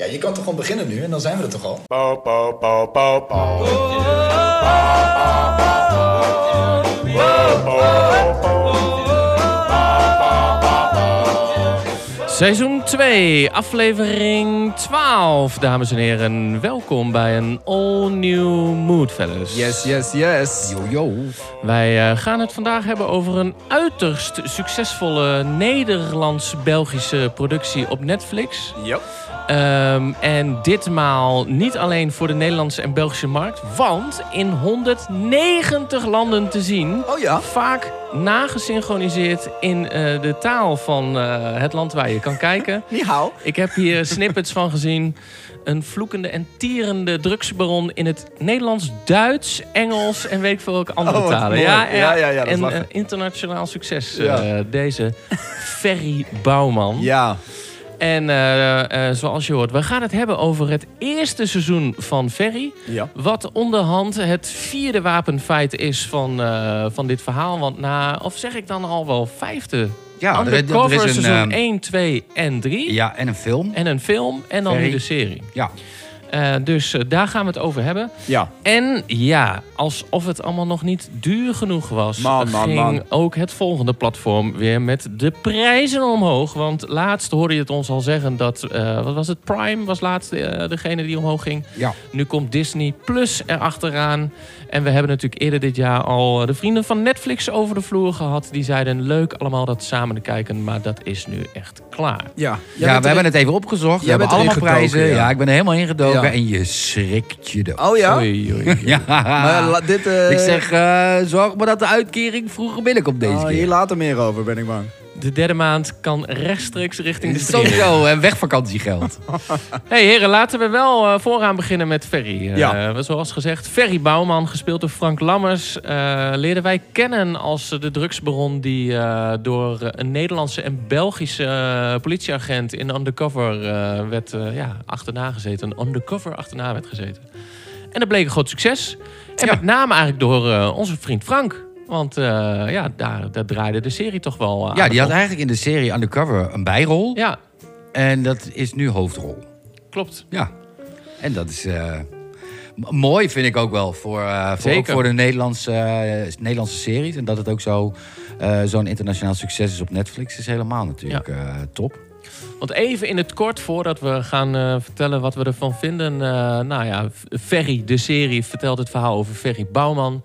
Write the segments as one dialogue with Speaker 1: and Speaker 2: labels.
Speaker 1: Ja, je kan toch gewoon beginnen nu en dan zijn we er toch al?
Speaker 2: Bow, bow, bow, bow, bow.
Speaker 3: Seizoen 2, aflevering 12. Dames en heren, welkom bij een all new mood, fellas.
Speaker 4: Yes, yes, yes.
Speaker 3: Yo, Wij eh, gaan het vandaag hebben over een uiterst succesvolle Nederlands-Belgische productie op Netflix.
Speaker 4: Yep.
Speaker 3: Ehm, en ditmaal niet alleen voor de Nederlandse en Belgische markt, want in 190 landen te zien.
Speaker 4: Oh ja.
Speaker 3: Vaak nagesynchroniseerd in eh, de taal van eh, het land waar je kan kijken.
Speaker 4: Ni hao.
Speaker 3: Ik heb hier snippets van gezien. Een vloekende en tierende drugsbaron in het Nederlands, Duits, Engels en weet ik veel welke andere
Speaker 4: Oh, wat
Speaker 3: talen.
Speaker 4: mooi. Ja, ja, ja, dat is
Speaker 3: en
Speaker 4: lachen.
Speaker 3: eh, internationaal succes,
Speaker 4: Ja.
Speaker 3: eh, deze Ferry Bouwman.
Speaker 4: Ja.
Speaker 3: En eh, eh, zoals je hoort, we gaan het hebben over het eerste seizoen van Ferry.
Speaker 4: Ja.
Speaker 3: Wat onderhand het vierde wapenfeit is van, eh, van dit verhaal. Want na, of zeg ik dan al wel vijfde?
Speaker 5: Ja, er, er- er
Speaker 3: Undercover
Speaker 5: is
Speaker 3: seizoen
Speaker 5: een... ehm,
Speaker 3: 1, 2 en 3.
Speaker 5: ja, en een film.
Speaker 3: En een film en dan nu
Speaker 5: Ferry.
Speaker 3: de serie.
Speaker 5: Ja.
Speaker 3: Eh, dus eh, daar gaan we het over hebben.
Speaker 4: Ja.
Speaker 3: En ja, alsof het allemaal nog niet duur genoeg was,
Speaker 4: Man, man,
Speaker 3: ging
Speaker 4: man.
Speaker 3: ook het volgende platform weer met de prijzen omhoog. Want laatst hoorde je het ons al zeggen dat, eh, wat was het, Prime was laatst eh, degene die omhoog ging.
Speaker 5: Ja.
Speaker 3: Nu komt Disney Plus erachteraan. En we hebben natuurlijk eerder dit jaar al eh, de vrienden van Netflix over de vloer gehad. Die zeiden leuk allemaal dat samen te kijken, maar dat is nu echt klaar.
Speaker 4: Ja.
Speaker 5: Ja, we hebben het even opgezocht. We
Speaker 4: Jij
Speaker 5: hebben
Speaker 4: bent
Speaker 5: allemaal
Speaker 4: erin
Speaker 5: prijzen.
Speaker 4: gedoken, ja.
Speaker 5: Ja, ik ben er helemaal ingedoken.
Speaker 4: Ja.
Speaker 5: En je schrikt je dood.
Speaker 4: Oh ja.
Speaker 3: Oei, oei, oei.
Speaker 5: Ja.
Speaker 4: Maar la- dit. eh,
Speaker 5: ik zeg, eh, zorg maar dat de uitkering vroeger binnenkomt deze
Speaker 4: oh,
Speaker 5: keer.
Speaker 4: hier later meer over, ben ik bang.
Speaker 3: De derde maand kan rechtstreeks richting de streaming.
Speaker 5: Sowieso, en wegvakantiegeld.
Speaker 3: Hey heren, laten we wel eh, vooraan beginnen met Ferry. Eh,
Speaker 4: Ja.
Speaker 3: Zoals gezegd, Ferry Bouwman, gespeeld door Frank Lammers, eh, leerden wij kennen als eh, de drugsbaron die eh, door eh, een Nederlandse en Belgische eh, politieagent in undercover eh, werd eh, ja, achterna gezeten. Een undercover achterna werd gezeten. En dat bleek een groot succes. En
Speaker 5: Ja.
Speaker 3: met name eigenlijk door eh, onze vriend Frank. Want eh, ja, daar, daar draaide de serie toch wel eh,
Speaker 5: Ja,
Speaker 3: aardig
Speaker 5: die had
Speaker 3: op.
Speaker 5: eigenlijk in de serie Undercover een bijrol.
Speaker 3: Ja,
Speaker 5: En dat is nu hoofdrol.
Speaker 3: klopt.
Speaker 5: Ja. En dat is... eh, m- Mooi vind ik ook wel voor, eh, voor, ook
Speaker 3: Zeker.
Speaker 5: voor de Nederlandse, eh, Nederlandse series. En dat het ook zo, eh, zo'n internationaal succes is op Netflix is helemaal natuurlijk eh, top.
Speaker 3: Want even in het kort, voordat we gaan eh, vertellen wat we ervan vinden. eh, nou ja, F- Ferry, de serie, vertelt het verhaal over Ferry Bouwman.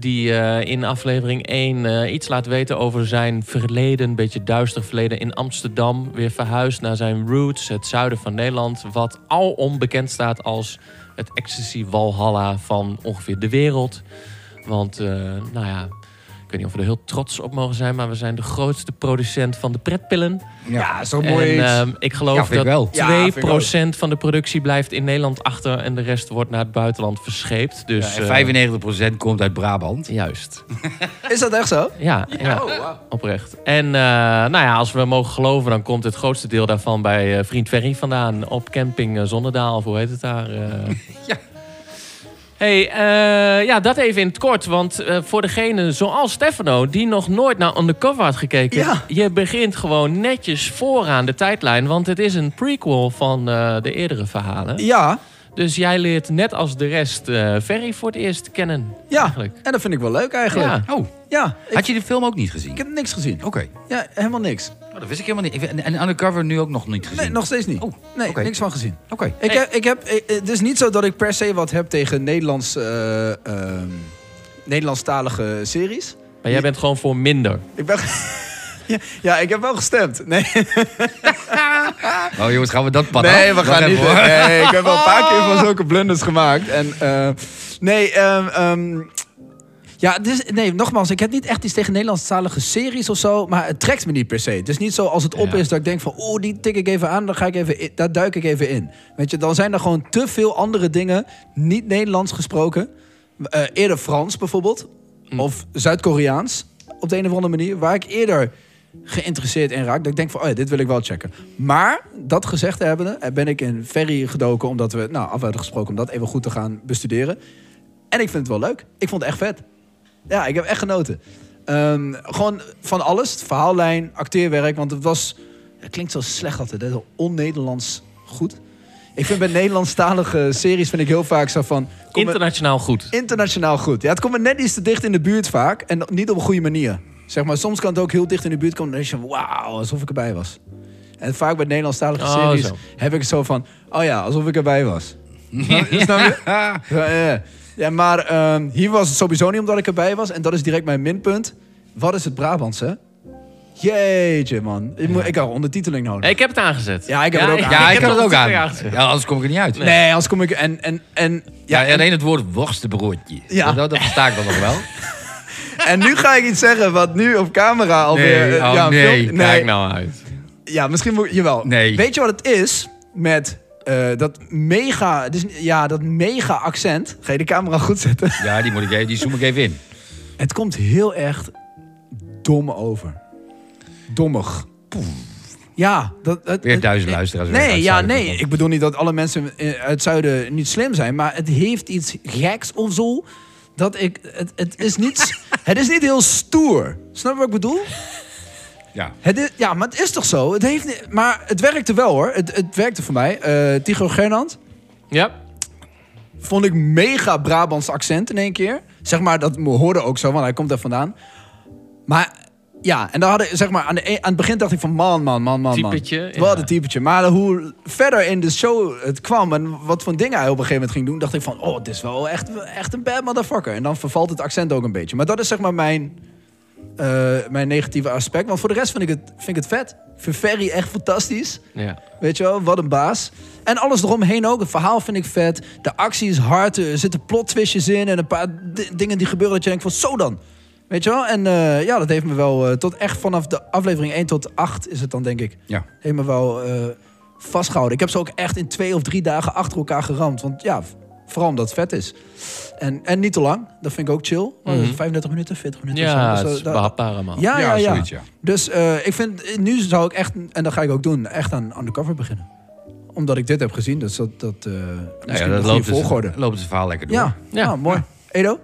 Speaker 3: Die eh, in aflevering 1 eh, iets laat weten over zijn verleden. Een beetje duister verleden in Amsterdam. Weer verhuisd naar zijn roots, het zuiden van Nederland. Wat alom bekend staat als het ecstasy Walhalla van ongeveer de wereld. Want, eh, nou ja, ik weet niet of we er heel trots op mogen zijn. Maar we zijn de grootste producent van de pretpillen.
Speaker 4: Ja, zo
Speaker 3: En
Speaker 4: mooi.
Speaker 3: ehm, ik
Speaker 5: Ja,
Speaker 3: geloof
Speaker 5: vind ik wel.
Speaker 3: dat
Speaker 4: Ja, vind ik
Speaker 3: 2% van de productie blijft in Nederland achter en de rest wordt naar het buitenland verscheept. Dus,
Speaker 5: Ja,
Speaker 3: eh,
Speaker 5: en 95% komt uit Brabant.
Speaker 3: Juist.
Speaker 4: Is dat echt zo? Oh,
Speaker 3: Ja, ja, oprecht. En eh, nou ja, als we mogen geloven, dan komt het grootste deel daarvan bij eh, vriend Ferry vandaan. Op camping eh, Zonnedaal, of hoe heet het daar? eh.
Speaker 5: Ja.
Speaker 3: hey, eh, ja, dat even in het kort. Want eh, voor degene zoals Stefano, die nog nooit naar Undercover had gekeken.
Speaker 4: Ja.
Speaker 3: Je begint gewoon netjes vooraan de tijdlijn. Want het is een prequel van eh, de eerdere verhalen.
Speaker 4: Ja.
Speaker 3: Dus jij leert net als de rest eh, Ferry voor het eerst kennen.
Speaker 4: Ja.
Speaker 3: Eigenlijk.
Speaker 4: En dat vind ik wel leuk eigenlijk.
Speaker 3: Ja.
Speaker 4: Ja.
Speaker 5: Oh,
Speaker 4: ik,
Speaker 5: had je de film ook niet
Speaker 4: ik
Speaker 5: gezien?
Speaker 4: heb niks gezien.
Speaker 5: Oké.
Speaker 4: Ja, helemaal niks.
Speaker 5: Oh, dat wist ik helemaal niet. Ik- En, en Undercover nu ook nog niet gezien?
Speaker 4: Nee, nog steeds niet.
Speaker 5: Oh,
Speaker 4: nee,
Speaker 5: oké.
Speaker 4: niks van gezien.
Speaker 5: Oké.
Speaker 4: Ik
Speaker 3: Hey.
Speaker 4: heb, ik heb, eh, eh, het is niet zo dat ik per se wat heb tegen Nederlands, eh, ehm, Nederlandstalige series.
Speaker 3: Maar jij bent gewoon voor minder.
Speaker 4: Ik ben... ja, ja, ik heb wel gestemd. Nee,
Speaker 5: Oh jongens, gaan we dat pad af?
Speaker 4: nee we
Speaker 5: Wacht
Speaker 4: gaan
Speaker 5: even
Speaker 4: niet.
Speaker 5: hoor. Oh.
Speaker 4: Nee, ik heb wel een paar keer van zulke blunders gemaakt. En, eh, nee, ehm, ehm, ja, het is- nee, nogmaals, ik heb niet echt iets tegen Nederlandstalige series of zo. Maar het trekt me niet per se. Het is niet zo als het op
Speaker 3: Ja.
Speaker 4: is dat ik denk van... oeh, die tik ik even aan, dan ga ik even in- daar duik ik even in. Weet je, dan zijn er gewoon te veel andere dingen... niet Nederlands gesproken. Eh, eerder Frans bijvoorbeeld. Of Zuid-Koreaans. Op de een of andere manier. Waar ik eerder geïnteresseerd in raak. Dat ik denk van, oh ja, dit wil ik wel checken. Maar, dat gezegd hebbende... eh, ben ik in Ferry gedoken omdat we... nou, af hadden gesproken om dat even goed te gaan bestuderen. En ik vind het wel leuk. Ik vond het echt vet. Ja, ik heb echt genoten. Ehm, gewoon van alles. Het verhaallijn, acteerwerk. Want het was... Het klinkt zo slecht altijd. hè, Zo on-Nederlands goed. Ik vind bij Nederlandstalige series vind ik heel vaak zo van... kom eh, er-
Speaker 3: Internationaal goed.
Speaker 4: internationaal goed. Ja, het komt me net iets te dicht in de buurt vaak. En niet op een goede manier. Zeg maar, soms kan het ook heel dicht in de buurt komen. Dan denk je van, wauw, alsof ik erbij was. En vaak bij Nederlandstalige
Speaker 3: Oh,
Speaker 4: series
Speaker 3: zo.
Speaker 4: heb ik het zo van... Oh ja, alsof ik erbij was. Snap je? Snap je? Ja, ja. Ja, maar ehm, hier was het sowieso niet omdat ik erbij was. En dat is direct mijn minpunt. Wat is het Brabantse? Jeetje, man. Ik, moet, ik had ondertiteling nodig.
Speaker 3: Ik heb het aangezet.
Speaker 4: Ja, ik heb het ook aan.
Speaker 5: Ja, ik had het ook aan.
Speaker 3: aangezet.
Speaker 5: Ja, anders kom ik er niet uit.
Speaker 4: nee, nee, als kom ik... En, en, en,
Speaker 5: Ja,
Speaker 4: ja, en,
Speaker 5: alleen het woord worstenbroodje.
Speaker 4: Ja.
Speaker 5: Dat, dat versta ik dan nog wel.
Speaker 4: en nu ga ik iets zeggen wat nu op camera alweer...
Speaker 5: Nee,
Speaker 4: eh,
Speaker 5: oh,
Speaker 4: ja,
Speaker 5: nee,
Speaker 4: filmpje-
Speaker 3: Kijk nou uit.
Speaker 4: Ja, misschien moet jawel.
Speaker 5: Nee.
Speaker 4: Weet je wat het is met eh, dat mega, het is, ja, dat mega accent? Ga je de camera goed zetten?
Speaker 5: Ja, die, moet ik, even- die zoom ik even in.
Speaker 4: Het komt heel echt dom over. Dommig. Ja, dat, dat,
Speaker 5: Weer
Speaker 4: het-
Speaker 5: duizend
Speaker 4: eh,
Speaker 5: luisteraars weer uit
Speaker 4: Nee,
Speaker 5: het
Speaker 4: ja,
Speaker 5: zuiden
Speaker 4: nee.
Speaker 5: komen.
Speaker 4: Ik bedoel niet dat alle mensen eh, uit het zuiden niet slim zijn, maar het heeft iets geks of zo. Dat ik, het, het, is niet, het is niet heel stoer. Snap je wat ik bedoel?
Speaker 5: Ja.
Speaker 4: Het is- ja, maar het is toch zo? Het heeft, ni- maar het werkte wel hoor. Het, het werkte voor mij. Eh Tigo Gernand
Speaker 3: Ja.
Speaker 4: vond ik mega Brabants accent in één keer. Zeg maar, dat me hoorde ook zo, want hij komt daar vandaan. Maar ja, en daar hadden, zeg maar, aan, de, e- aan het begin dacht ik van man, man, man, man, man.
Speaker 3: Typetje, ja.
Speaker 4: Wat een typetje. Maar hoe verder in de show het kwam en wat voor dingen hij op een gegeven moment ging doen, dacht ik van, oh, dit is wel echt, echt een bad motherfucker. En dan vervalt het accent ook een beetje. Maar dat is zeg maar mijn, eh, mijn negatieve aspect. Want voor de rest vind ik het, vind ik het vet. Ik vind Ferry echt fantastisch.
Speaker 3: ja.
Speaker 4: Weet je wel, wat een baas. En alles eromheen ook. Het verhaal vind ik vet. De actie is hard. Er zitten plot twistjes in. En een paar di- dingen die gebeuren dat je denkt van zo dan. Weet je wel? En eh, ja, dat heeft me wel eh, tot echt vanaf de aflevering 1 tot 8 is het dan denk ik.
Speaker 5: Ja.
Speaker 4: Heeft me wel eh, vastgehouden. Ik heb ze ook echt in twee of drie dagen achter elkaar geramd. Want ja, v- vooral omdat het vet is. En, en niet te lang. Dat vind ik ook chill. Maar
Speaker 3: Mhm.
Speaker 4: 35 minuten, 40 minuten. of
Speaker 3: Ja,
Speaker 4: zo.
Speaker 3: het
Speaker 4: Dus,
Speaker 3: is
Speaker 4: eh, da-
Speaker 3: behapbaar man.
Speaker 4: ja, ja, ja.
Speaker 5: zoiets, ja.
Speaker 4: Dus eh, ik vind, nu zou ik echt, en dat ga ik ook doen, echt aan undercover beginnen. Omdat ik dit heb gezien, dus dat, dat eh
Speaker 5: Nou ja,
Speaker 4: misschien de
Speaker 5: dat
Speaker 4: goede
Speaker 5: loopt dus,
Speaker 4: volgorde.
Speaker 5: loopt het verhaal lekker door.
Speaker 4: ja, ja.
Speaker 3: Ja.
Speaker 4: mooi. Edo?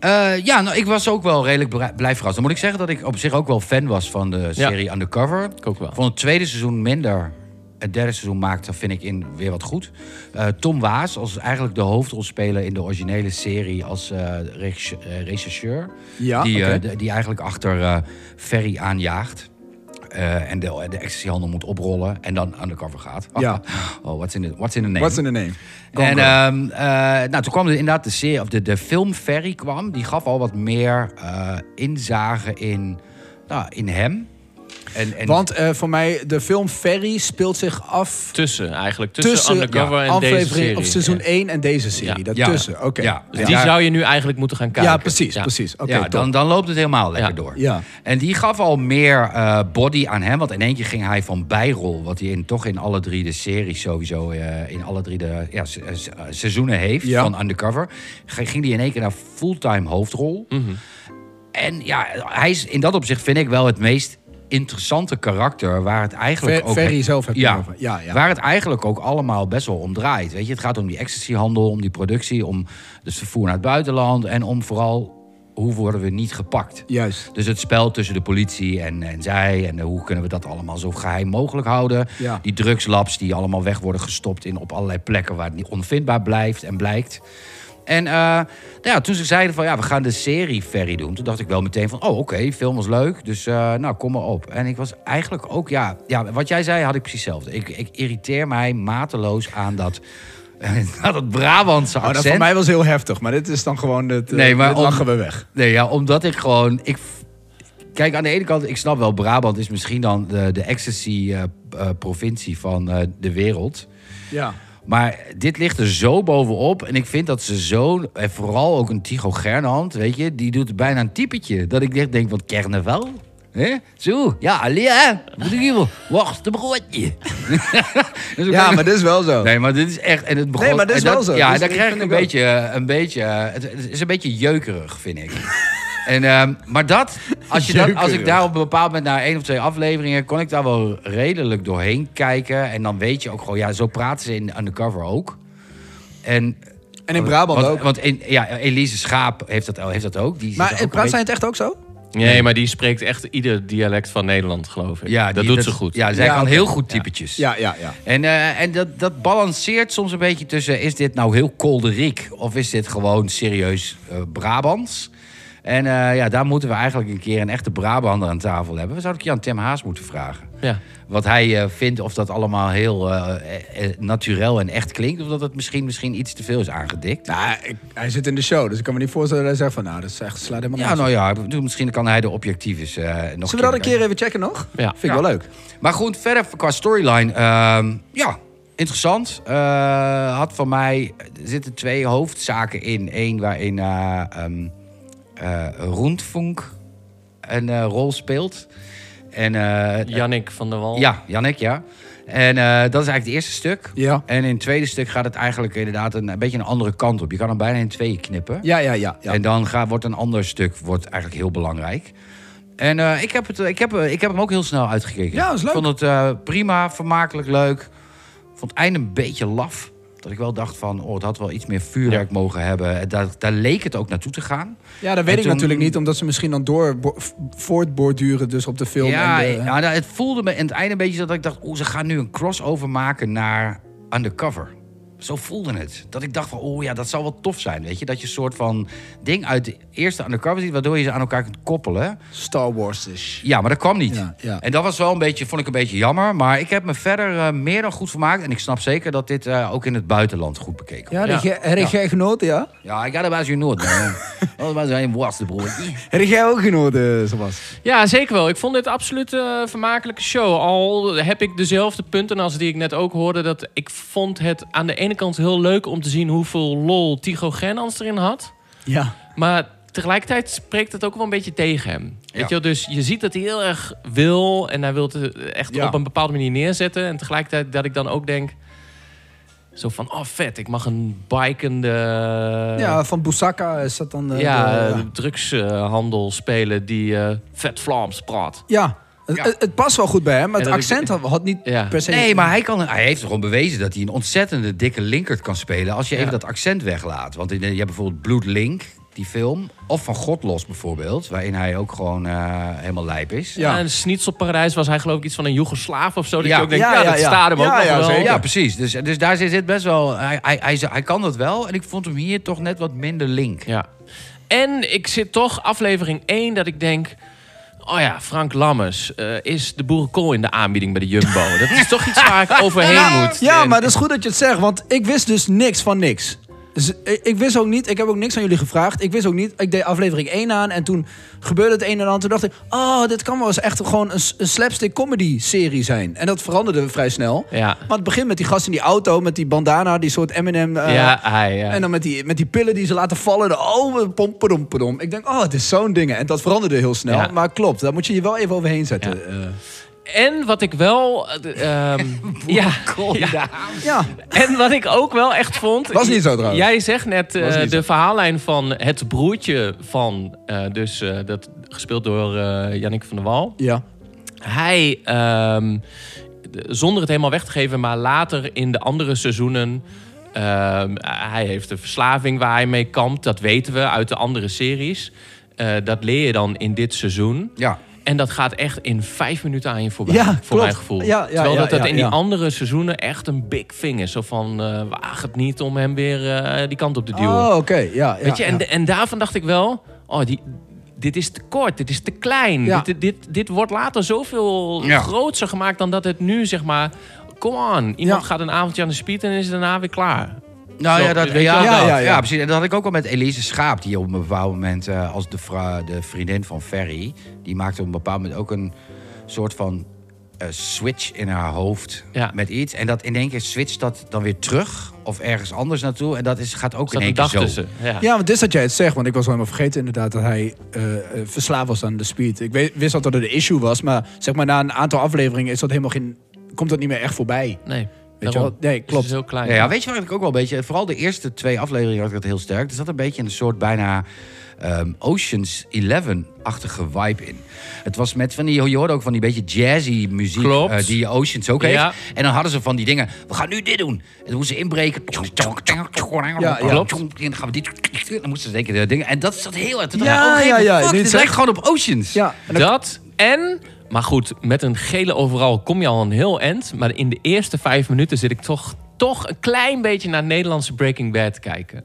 Speaker 5: Eh, ja, nou, ik was ook wel redelijk bra- blij verrast. Dan moet ik zeggen dat ik op zich ook wel fan was van de serie Undercover.
Speaker 3: Ik ook wel.
Speaker 5: Van het tweede seizoen minder. Het derde seizoen maakt, dat vind ik, in weer wat goed. Eh, Tom Waas als eigenlijk de hoofdrolspeler in de originele serie als eh, regisse- eh, rechercheur.
Speaker 4: Ja,
Speaker 5: die, eh,
Speaker 4: oké.
Speaker 5: de- die eigenlijk achter eh, Ferry aanjaagt. Eh, en de, de ecstasyhandel moet oprollen en dan undercover gaat.
Speaker 4: Ja.
Speaker 5: Oh, what's in the, what's in the name?
Speaker 4: What's in the name?
Speaker 5: En
Speaker 4: Conquer.
Speaker 5: ehm, eh, nou, toen kwam er inderdaad de, serie, of de, de film Ferry kwam. Die gaf al wat meer eh inzage in, nou, in hem. En, en,
Speaker 4: Want eh, voor mij, de film Ferry speelt zich af
Speaker 3: Tussen eigenlijk. Tussen,
Speaker 4: tussen
Speaker 3: Undercover
Speaker 4: ja,
Speaker 3: en
Speaker 4: aflevering
Speaker 3: deze serie.
Speaker 4: of seizoen
Speaker 3: Ja.
Speaker 4: 1 en deze serie.
Speaker 3: Ja.
Speaker 4: Daartussen, oké.
Speaker 5: Ja.
Speaker 3: Dus
Speaker 4: Ja.
Speaker 3: die
Speaker 5: Ja.
Speaker 3: zou je nu eigenlijk moeten gaan kijken.
Speaker 4: ja, precies, precies. Oké,
Speaker 5: ja,
Speaker 4: top.
Speaker 5: dan, dan loopt het helemaal lekker
Speaker 3: Ja.
Speaker 5: door.
Speaker 4: Ja.
Speaker 5: En die gaf al meer eh, body aan hem. Want in één keer ging hij van bijrol. Wat hij in, toch in alle drie de series sowieso. eh, in alle drie de ja, se- eh, se- eh, seizoenen heeft
Speaker 4: Ja.
Speaker 5: van Undercover. ge- Ging hij in één keer naar fulltime hoofdrol.
Speaker 4: Mhm.
Speaker 5: En ja, hij is in dat opzicht vind ik wel het meest interessante karakter. Waar het eigenlijk
Speaker 4: Ver-
Speaker 5: ook...
Speaker 4: Ferry zelf heb je
Speaker 5: ja,
Speaker 4: erover. Ja, ja.
Speaker 5: Waar het eigenlijk ook allemaal best wel om draait. Weet je, het gaat om die ecstasyhandel, om die productie, om het vervoer naar het buitenland en om vooral hoe worden we niet gepakt.
Speaker 4: Juist.
Speaker 5: Dus het spel tussen de politie en, en zij en eh, hoe kunnen we dat allemaal zo geheim mogelijk houden.
Speaker 4: Ja.
Speaker 5: Die drugslabs die allemaal weg worden gestopt in op allerlei plekken waar het niet onvindbaar blijft en blijkt. En eh, nou ja, toen ze zeiden van ja, we gaan de serie Ferry doen, toen dacht ik wel meteen van oh oké, film was leuk, dus eh, nou kom maar op. En ik was eigenlijk ook ja, ja, wat jij zei had ik precies hetzelfde. Ik, ik irriteer mij mateloos aan dat, aan dat Brabantse
Speaker 4: Oh,
Speaker 5: accent.
Speaker 4: dat voor mij was heel heftig, maar dit is dan gewoon het... eh,
Speaker 5: Nee, maar
Speaker 4: dit
Speaker 5: om-
Speaker 4: lachen we weg.
Speaker 5: Nee, ja, omdat ik gewoon. Ik, kijk, aan de ene kant, ik snap wel, Brabant is misschien dan de, eh, de ecstasy-provincie van eh, de wereld.
Speaker 4: Ja.
Speaker 5: Maar dit ligt er zo bovenop. En ik vind dat ze zo. En vooral ook een Tycho Gernand, weet je, die doet bijna een typetje. Dat ik echt denk: wat carnaval? hè? Zo, ja, alleen Moet ik hier Wacht, een broodje. Dus ik
Speaker 4: Ja,
Speaker 5: ben-
Speaker 4: maar dit is wel zo.
Speaker 5: Nee, maar dit is echt. En het begon,
Speaker 4: Nee, maar dit is
Speaker 5: en
Speaker 4: wel
Speaker 5: dat-
Speaker 4: zo.
Speaker 5: Ja,
Speaker 4: Dus
Speaker 5: daar
Speaker 4: ik
Speaker 5: krijg ik
Speaker 4: vind
Speaker 5: een
Speaker 4: het
Speaker 5: beetje, eh, een beetje. Het, het is een beetje jeukerig, vind ik. en, ehm, maar dat, als, je dat, als ik
Speaker 4: Jeukerig.
Speaker 5: daar op een bepaald moment na één of twee afleveringen. kon ik daar wel redelijk doorheen kijken. En dan weet je ook gewoon, ja, zo praten ze in Undercover ook. En.
Speaker 4: En in Brabant
Speaker 5: want,
Speaker 4: ook.
Speaker 5: Want in, ja, Elise Schaap heeft dat, heeft dat ook. Die
Speaker 4: Maar
Speaker 5: zit
Speaker 4: in
Speaker 5: ook een
Speaker 4: praat zij het echt ook zo?
Speaker 5: beetje-
Speaker 3: Nee, maar die spreekt echt ieder dialect van Nederland, geloof ik.
Speaker 5: Ja,
Speaker 3: dat
Speaker 5: die-
Speaker 3: doet ze goed.
Speaker 5: Ja, zij
Speaker 4: Ja,
Speaker 5: kan
Speaker 4: oké.
Speaker 5: heel goed typetjes.
Speaker 4: Ja, ja, ja.
Speaker 5: En, eh, en dat, dat balanceert soms een beetje tussen... is dit nou heel kolderiek of is dit gewoon serieus eh, Brabants? En eh, ja, daar moeten we eigenlijk een keer een echte Brabander aan tafel hebben. We zouden ook Jan Tim Haas moeten vragen.
Speaker 3: Ja.
Speaker 5: Wat hij eh, vindt of dat allemaal heel eh eh, naturel en echt klinkt... of dat het misschien, misschien iets te veel is aangedikt.
Speaker 4: Nou, ik- hij zit in de show, dus ik kan me niet voorstellen dat hij zegt van... Nou, dat is echt, slaat helemaal
Speaker 5: ja,
Speaker 4: nergens op.
Speaker 5: nou ja, ik bedoel, misschien kan hij de objectief is. nog
Speaker 4: Zullen we dat een keer even checken nog?
Speaker 3: Ja.
Speaker 4: Vind ik wel leuk.
Speaker 5: Maar goed, verder qua storyline. ehm, ja, interessant. Eh, had van mij... Er zitten twee hoofdzaken in. Eén waarin eh ehm eh, Rundfunk een eh, rol speelt. En, eh,
Speaker 3: Jannik van der Wal.
Speaker 5: ja, Jannik, ja. En eh, dat is eigenlijk het eerste stuk.
Speaker 4: Ja.
Speaker 5: En in het tweede stuk gaat het eigenlijk inderdaad een, een beetje een andere kant op. Je kan hem bijna in tweeën knippen.
Speaker 4: Ja, ja, ja. ja.
Speaker 5: En dan gaat, wordt een ander stuk wordt eigenlijk heel belangrijk. En eh, ik, heb het, ik, heb, eh, ik heb hem ook heel snel uitgekeken.
Speaker 4: Ja, dat is leuk.
Speaker 5: Ik vond het eh, prima, vermakelijk, leuk. Ik vond het einde een beetje laf. Dat ik wel dacht van, oh, het had wel iets meer vuurwerk mogen hebben. En Daar, daar leek het ook naartoe te gaan.
Speaker 4: ja, dat weet
Speaker 5: en
Speaker 4: ik
Speaker 5: toen-
Speaker 4: natuurlijk niet, omdat ze misschien dan door voortborduren dus op de film.
Speaker 5: ja,
Speaker 4: en de-
Speaker 5: ja, nou, het voelde me in het einde een beetje dat ik dacht... oh, ze gaan nu een crossover maken naar Undercover. Zo voelde het. Dat ik dacht van, oh ja, dat zou wel tof zijn, weet je. Dat je een soort van ding uit de eerste Undercover ziet... waardoor je ze aan elkaar kunt koppelen.
Speaker 4: Star Wars-ish.
Speaker 5: Ja, maar dat kwam niet.
Speaker 4: Ja, ja.
Speaker 5: En dat was wel een beetje, vond ik een beetje jammer. Maar ik heb me verder eh, meer dan goed vermaakt. En ik snap zeker dat dit eh, ook in het buitenland goed bekeken wordt.
Speaker 4: Ja,
Speaker 3: Ja.
Speaker 4: heb jij genoten, ja?
Speaker 5: Ja, ik had het bij je nooit. Dat was een worst, broer.
Speaker 4: Heb jij ook genoten, eh, Sebas?
Speaker 3: Ja, zeker wel. Ik vond dit absoluut eh, een vermakelijke show. Al heb ik dezelfde punten als die ik net ook hoorde. Dat ik vond het aan de ene kant heel leuk om te zien hoeveel lol Tycho Gernans erin had.
Speaker 4: Ja.
Speaker 3: Maar tegelijkertijd spreekt het ook wel een beetje tegen hem. Weet je,
Speaker 5: Ja.
Speaker 3: wel? dus je ziet dat hij heel erg wil en hij wil het eh, echt
Speaker 4: Ja.
Speaker 3: op een bepaalde manier neerzetten. En tegelijkertijd dat ik dan ook denk, zo van, oh vet, ik mag een bikende...
Speaker 4: Ja, van Boussaka is dat dan... eh,
Speaker 3: ja,
Speaker 4: de-
Speaker 3: drugshandel spelen die eh, vet Vlaams praat.
Speaker 4: ja. Het,
Speaker 5: Ja.
Speaker 4: het- het past wel goed bij hem, maar het
Speaker 3: En dat ik-
Speaker 4: accent had, had niet
Speaker 3: Ja.
Speaker 4: per se...
Speaker 5: Nee, maar hij, kan, hij heeft gewoon bewezen dat hij een ontzettende dikke linkert kan spelen... als je even
Speaker 3: Ja.
Speaker 5: dat accent weglaat. Want in- je hebt bijvoorbeeld Bloed Link, die film. Of Van God Los bijvoorbeeld, waarin hij ook gewoon eh, helemaal lijp is.
Speaker 4: Ja.
Speaker 3: Ja. En Snitselparadijs was hij geloof ik iets van een Joegoslaaf of zo. Dat
Speaker 5: Ja.
Speaker 3: je ook denkt,
Speaker 4: Ja,
Speaker 3: ja,
Speaker 4: ja,
Speaker 3: dat
Speaker 4: ja.
Speaker 3: staat hem
Speaker 4: Ja,
Speaker 3: ook nog
Speaker 4: ja,
Speaker 3: wel.
Speaker 4: zeker.
Speaker 5: Ja, precies. Dus, dus daar zit zit best wel... Hij, hij, hij, hij kan dat wel. En ik vond hem hier toch net wat minder link.
Speaker 3: Ja. En ik zit toch aflevering 1 dat ik denk... Oh ja, Frank Lammers. eh, is de boerenkool in de aanbieding bij de Jumbo? Dat is toch iets waar ik overheen moet.
Speaker 4: Ja,
Speaker 3: En-
Speaker 4: maar dat is goed dat je het zegt, want ik wist dus niks van niks. Dus ik, ik wist ook niet, ik heb ook niks aan jullie gevraagd. Ik wist ook niet, ik deed aflevering 1 aan en toen gebeurde het een en ander. Toen dacht ik, oh, dit kan wel eens echt gewoon een, s- een slapstick comedy serie zijn. En dat veranderde vrij snel.
Speaker 3: Ja.
Speaker 4: Maar het begint met die gast in die auto, met die bandana, die soort Eminem. eh,
Speaker 3: ja, hij, ja.
Speaker 4: En dan met die, met die pillen die ze laten vallen. de- Oh, pom, padom, padom. Ik denk, oh, het is zo'n ding. En dat veranderde heel snel.
Speaker 3: Ja.
Speaker 4: Maar klopt, daar moet je je wel even overheen zetten.
Speaker 3: Ja.
Speaker 4: Eh,
Speaker 3: En wat ik wel... eh, de- ehm, ja, ja.
Speaker 4: ja.
Speaker 3: En wat ik ook wel echt vond...
Speaker 4: Was niet zo trouwens.
Speaker 3: Jij zegt net eh,
Speaker 4: Was niet zo.
Speaker 3: de verhaallijn van het broertje van... eh, dus eh, dat gespeeld door eh Jannik van der Wal.
Speaker 4: ja.
Speaker 3: hij, ehm, de- zonder het helemaal weg te geven, maar later in de andere seizoenen. ehm, hij heeft een verslaving waar hij mee kampt. Dat weten we uit de andere series. Eh, dat leer je dan in dit seizoen.
Speaker 5: Ja.
Speaker 3: En dat gaat echt in vijf minuten aan je voorbij,
Speaker 4: Ja,
Speaker 3: voor
Speaker 4: klopt.
Speaker 3: mijn gevoel.
Speaker 4: Ja, ja,
Speaker 3: Terwijl
Speaker 4: ja,
Speaker 3: dat, dat
Speaker 4: ja,
Speaker 3: in die
Speaker 4: ja.
Speaker 3: andere seizoenen echt een big thing is. Zo van, eh, waag het niet om hem weer eh, die kant op te duwen.
Speaker 4: Oh, oké. Ja, ja,
Speaker 3: Weet je,
Speaker 4: ja.
Speaker 3: en, en daarvan dacht ik wel, oh, die, dit is te kort, dit is te klein.
Speaker 4: Ja.
Speaker 3: Dit, dit, dit wordt later zoveel
Speaker 5: Ja.
Speaker 3: groter gemaakt dan dat het nu, zeg maar... Come on, iemand
Speaker 4: Ja.
Speaker 3: gaat een avondje aan de speed en is daarna weer klaar.
Speaker 5: Nou
Speaker 3: Zo,
Speaker 5: ja, dat, ja,
Speaker 3: weet je wel,
Speaker 5: dat.
Speaker 4: ja, ja.
Speaker 5: ja. precies. En dat had ik ook al met Elise Schaap, die op een bepaald moment eh, als de, vra- de vriendin van Ferry, die maakte op een bepaald moment ook een soort van eh, switch in haar hoofd
Speaker 3: Ja.
Speaker 5: met iets. En dat in één keer switcht dat dan weer terug of ergens anders naartoe. En dat is, gaat ook
Speaker 3: Er zat
Speaker 5: in één
Speaker 3: een
Speaker 5: keer
Speaker 3: dag
Speaker 5: zo.
Speaker 3: tussen. Ja.
Speaker 4: Ja, want dit is dat jij het zegt, want ik was wel helemaal vergeten inderdaad dat hij eh, eh, verslaafd was aan de speed. Ik weet- wist al dat het een issue was, maar zeg maar na een aantal afleveringen is dat helemaal geen, komt dat niet meer echt voorbij.
Speaker 3: Nee.
Speaker 4: Weet je wel?
Speaker 3: Dus
Speaker 4: Nee,
Speaker 3: het is
Speaker 4: klopt.
Speaker 3: heel klein.
Speaker 5: Ja, ja, weet je waar ik ook wel een beetje... Vooral de eerste twee afleveringen had ik dat heel sterk. Er zat een beetje een soort bijna ehm, Ocean's 11-achtige vibe in. Het was met van die... Je hoorde ook van die beetje jazzy muziek
Speaker 3: Klopt.
Speaker 5: eh, die Oceans ook
Speaker 3: Ja.
Speaker 5: heeft. En dan hadden ze van die dingen... We gaan nu dit doen. En dan moesten ze inbreken.
Speaker 4: ja.
Speaker 3: Klopt.
Speaker 5: En dan gaan we dit... Dan moesten ze denken de dingen. En dat zat heel erg... Toen
Speaker 4: Ja,
Speaker 5: dacht ik,
Speaker 4: ja,
Speaker 5: oh,
Speaker 4: ja.
Speaker 5: fuck,
Speaker 4: Nu
Speaker 5: dit
Speaker 4: het zegt-
Speaker 5: lijkt gewoon op Oceans.
Speaker 4: Ja, en dan-
Speaker 3: Dat en... Maar goed, met een gele overal kom je al een heel eind. Maar in de eerste vijf minuten zit ik toch, toch een klein beetje naar Nederlandse Breaking Bad kijken.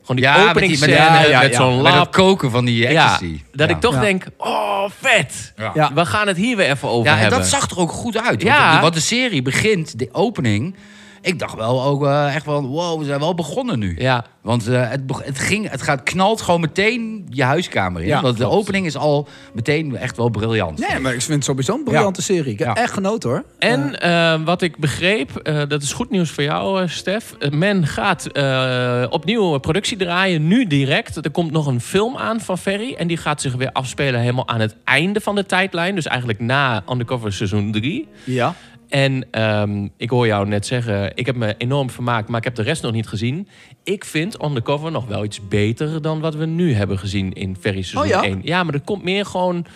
Speaker 3: Gewoon die
Speaker 5: Ja, met, die- met,
Speaker 3: openingsscène
Speaker 5: ja,
Speaker 3: met,
Speaker 5: ja, ja.
Speaker 3: zo'n
Speaker 5: Met dat
Speaker 3: lap.
Speaker 5: koken van die
Speaker 3: Ja,
Speaker 5: ecstasy.
Speaker 3: dat ik toch
Speaker 4: Ja.
Speaker 3: denk, oh vet.
Speaker 5: Ja.
Speaker 4: Ja.
Speaker 3: We gaan het hier weer even over
Speaker 5: Ja, en
Speaker 3: hebben.
Speaker 5: dat zag er ook goed uit. Want
Speaker 3: Ja.
Speaker 5: die- Want de serie begint, de opening. Ik dacht wel ook eh, echt van, wow, we zijn wel begonnen nu.
Speaker 3: Ja,
Speaker 5: Want eh, het, beg- het, ging, het gaat, knalt gewoon meteen je huiskamer in.
Speaker 4: Ja,
Speaker 5: want de
Speaker 3: klopt.
Speaker 5: opening is al meteen echt wel briljant.
Speaker 4: Nee, maar ik vind het sowieso een briljante serie. Ik heb
Speaker 5: Ja.
Speaker 4: echt genoten hoor.
Speaker 3: En eh, wat ik begreep, eh, dat is goed nieuws voor jou, eh, Stef. Eh, men gaat eh, opnieuw een productie draaien, nu direct. Er komt nog een film aan van Ferry. En die gaat zich weer afspelen helemaal aan het einde van de tijdlijn. Dus eigenlijk na Undercover seizoen 3.
Speaker 4: Ja.
Speaker 3: En ehm, ik hoor jou net zeggen, ik heb me enorm vermaakt, maar ik heb de rest nog niet gezien. Ik vind Undercover nog wel iets beter dan wat we nu hebben gezien in Ferry seizoen
Speaker 4: Oh ja?
Speaker 3: 1. Ja, maar er komt meer gewoon...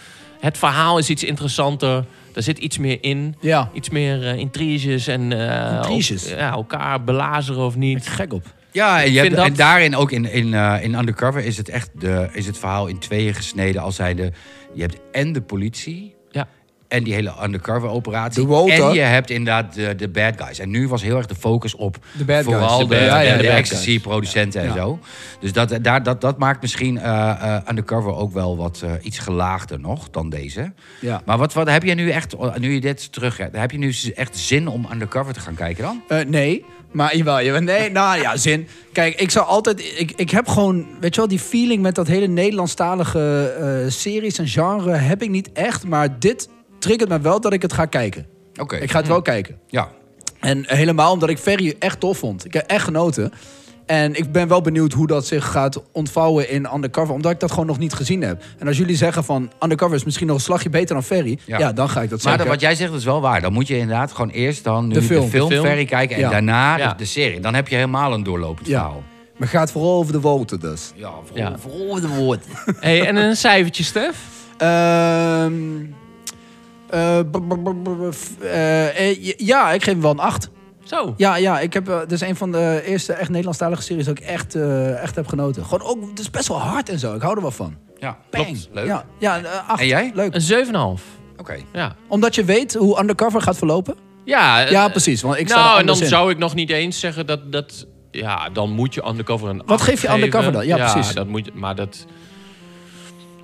Speaker 3: Het verhaal is iets interessanter. Er zit iets meer in.
Speaker 4: Ja.
Speaker 3: Iets meer eh, intriges en eh,
Speaker 4: Intriges?
Speaker 3: el- ja, elkaar belazeren of niet.
Speaker 4: Gek op.
Speaker 5: Ja, en, je
Speaker 3: vind
Speaker 5: hebt- en
Speaker 3: dat-
Speaker 5: daarin ook in, in, eh, in Undercover is het echt de, is het verhaal in tweeën gesneden. Als zijnde, je hebt en de politie
Speaker 3: Ja.
Speaker 5: en die hele undercover operatie.
Speaker 4: De Walter.
Speaker 5: En je hebt inderdaad de, de bad guys. En nu was heel erg de focus op
Speaker 4: De bad guys.
Speaker 5: vooral
Speaker 4: De
Speaker 5: de,
Speaker 4: bad-
Speaker 5: de,
Speaker 4: ja, ja,
Speaker 5: de
Speaker 4: de bad
Speaker 5: ecstasy producenten en zo. Dus dat, daar, dat, dat maakt misschien eh, eh, undercover ook wel wat eh, iets gelaagder nog dan deze.
Speaker 4: Ja.
Speaker 5: Maar wat, wat heb je nu echt, nu je dit terug hebt, heb je nu z- echt zin om undercover te gaan kijken dan?
Speaker 4: Eh, nee, maar jawel, jawel. Nee, nou ja, zin. Kijk, ik zou altijd... Ik, ik heb gewoon, weet je wel, die feeling met dat hele Nederlandstalige eh, series en genre heb ik niet echt. Maar dit triggert me wel dat ik het ga kijken.
Speaker 5: Oké,
Speaker 4: Ik ga het wel kijken.
Speaker 5: ja.
Speaker 4: En helemaal omdat ik Ferry echt tof vond. Ik heb echt genoten. En ik ben wel benieuwd hoe dat zich gaat ontvouwen in Undercover. Omdat ik dat gewoon nog niet gezien heb. En als jullie zeggen van Undercover is misschien nog een slagje beter dan Ferry. Ja,
Speaker 5: Ja.
Speaker 4: dan ga ik dat
Speaker 5: Maar
Speaker 4: zeggen.
Speaker 5: dan- wat jij zegt is wel waar. Dan moet je inderdaad gewoon eerst dan nu
Speaker 4: De
Speaker 5: de
Speaker 4: film.
Speaker 5: film,
Speaker 3: De film.
Speaker 5: verrie kijken en
Speaker 4: Ja.
Speaker 5: daarna
Speaker 3: Ja.
Speaker 5: de, de serie. Dan heb je helemaal een doorlopend
Speaker 4: Ja.
Speaker 5: verhaal.
Speaker 4: Maar gaat vooral over de Walter dus.
Speaker 5: Ja, voor,
Speaker 3: Ja.
Speaker 5: voor de woord.
Speaker 3: Hey, en een cijfertje, Stef?
Speaker 4: Ehm, eh, b- b- b- b- f- eh, eh, j- ja, ik geef hem wel een 8.
Speaker 3: Zo.
Speaker 4: Ja, ja, ik heb, eh, dit is een van de eerste echt Nederlandstalige series dat ik echt, eh, echt heb genoten. Gewoon ook, het is best wel hard en zo. Ik hou er wel van.
Speaker 5: Ja,
Speaker 4: Bang.
Speaker 5: klopt. Leuk.
Speaker 4: Ja, ja een, eh, 8.
Speaker 5: En jij?
Speaker 4: Leuk.
Speaker 3: Een 7,5.
Speaker 5: Oké.
Speaker 3: Ja.
Speaker 4: Omdat je weet hoe Undercover gaat verlopen.
Speaker 3: Ja, eh,
Speaker 4: Ja, precies. Want ik sta er
Speaker 3: nou, en
Speaker 4: anders
Speaker 3: dan
Speaker 4: in.
Speaker 3: zou ik nog niet eens zeggen dat... dat ja, dan moet je undercover een acht
Speaker 4: geef je
Speaker 3: geven.
Speaker 4: Undercover dan? Ja, precies.
Speaker 3: Dat moet je, maar dat...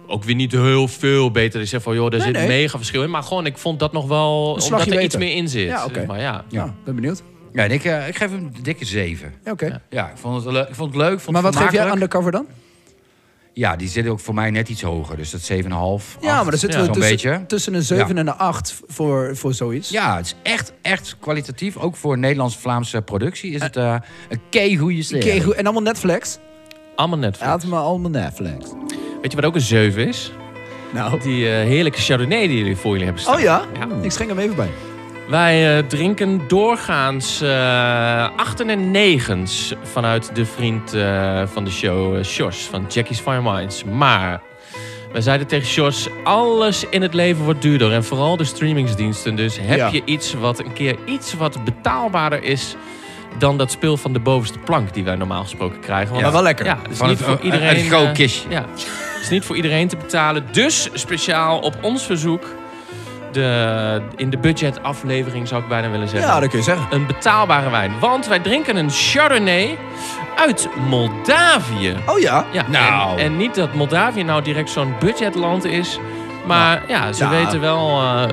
Speaker 3: Ook weer niet heel veel beter. Ik zeg van, joh, daar
Speaker 4: Nee,
Speaker 3: zit
Speaker 4: nee.
Speaker 3: mega verschil in. Maar gewoon, ik vond dat nog wel...
Speaker 4: Een slagje
Speaker 3: omdat er
Speaker 4: beter.
Speaker 3: iets meer in zit.
Speaker 4: Ja, oké.
Speaker 3: dus, Maar ja.
Speaker 4: Ja, ben benieuwd.
Speaker 5: Ja, en ik, eh, ik geef hem een dikke 7.
Speaker 4: Ja, oké.
Speaker 5: Ja, ik vond het, leuk- ik vond het leuk. Vond
Speaker 4: Maar
Speaker 5: het
Speaker 4: wat geef jij
Speaker 5: vermakelijk.
Speaker 4: Undercover dan?
Speaker 5: Ja, die zit ook voor mij net iets hoger. Dus dat 7,5.
Speaker 4: Ja, maar dan zitten we
Speaker 5: Zo'n beetje.
Speaker 4: tussen, tussen een 7 en een 8 voor, voor zoiets.
Speaker 5: Ja, het is echt, echt kwalitatief. Ook voor Nederlands-Vlaamse productie is het eh, een kei goede serie.
Speaker 4: Oké, goed. en allemaal Netflix?
Speaker 3: Allemaal net.
Speaker 4: Laat me allemaal Netflix.
Speaker 3: Weet je wat ook een 7 is?
Speaker 4: Nou.
Speaker 3: Die eh, heerlijke Chardonnay die jullie voor jullie hebben staan.
Speaker 4: Oh ja?
Speaker 3: Ja.
Speaker 4: Ik schenk hem even bij.
Speaker 3: Wij eh, drinken doorgaans eh achten en negens vanuit de vriend eh, van de show, eh, Sjors van Jackie's Fire Minds. Maar wij zeiden tegen Sjors, alles in het leven wordt duurder. En vooral de streamingsdiensten. Dus heb
Speaker 4: Ja.
Speaker 3: je iets wat een keer iets wat betaalbaarder is dan dat speel van de bovenste plank die wij normaal gesproken krijgen. Want
Speaker 4: Maar wel lekker.
Speaker 3: ja, het is
Speaker 5: Van
Speaker 3: niet
Speaker 5: het-
Speaker 3: voor
Speaker 5: een-
Speaker 3: iedereen.
Speaker 5: een groot
Speaker 3: eh,
Speaker 5: kistje.
Speaker 3: ja, het is niet voor iedereen te betalen. Dus speciaal op ons verzoek. De, in de budgetaflevering zou ik bijna willen zeggen.
Speaker 4: Ja, dat kun je zeggen.
Speaker 3: Een betaalbare wijn. Want wij drinken een Chardonnay uit Moldavië.
Speaker 4: Oh ja?
Speaker 3: Ja,
Speaker 5: Nou.
Speaker 3: en, en niet dat Moldavië nou direct zo'n budgetland is. Maar ja, ze
Speaker 4: ja.
Speaker 3: weten wel eh, eh,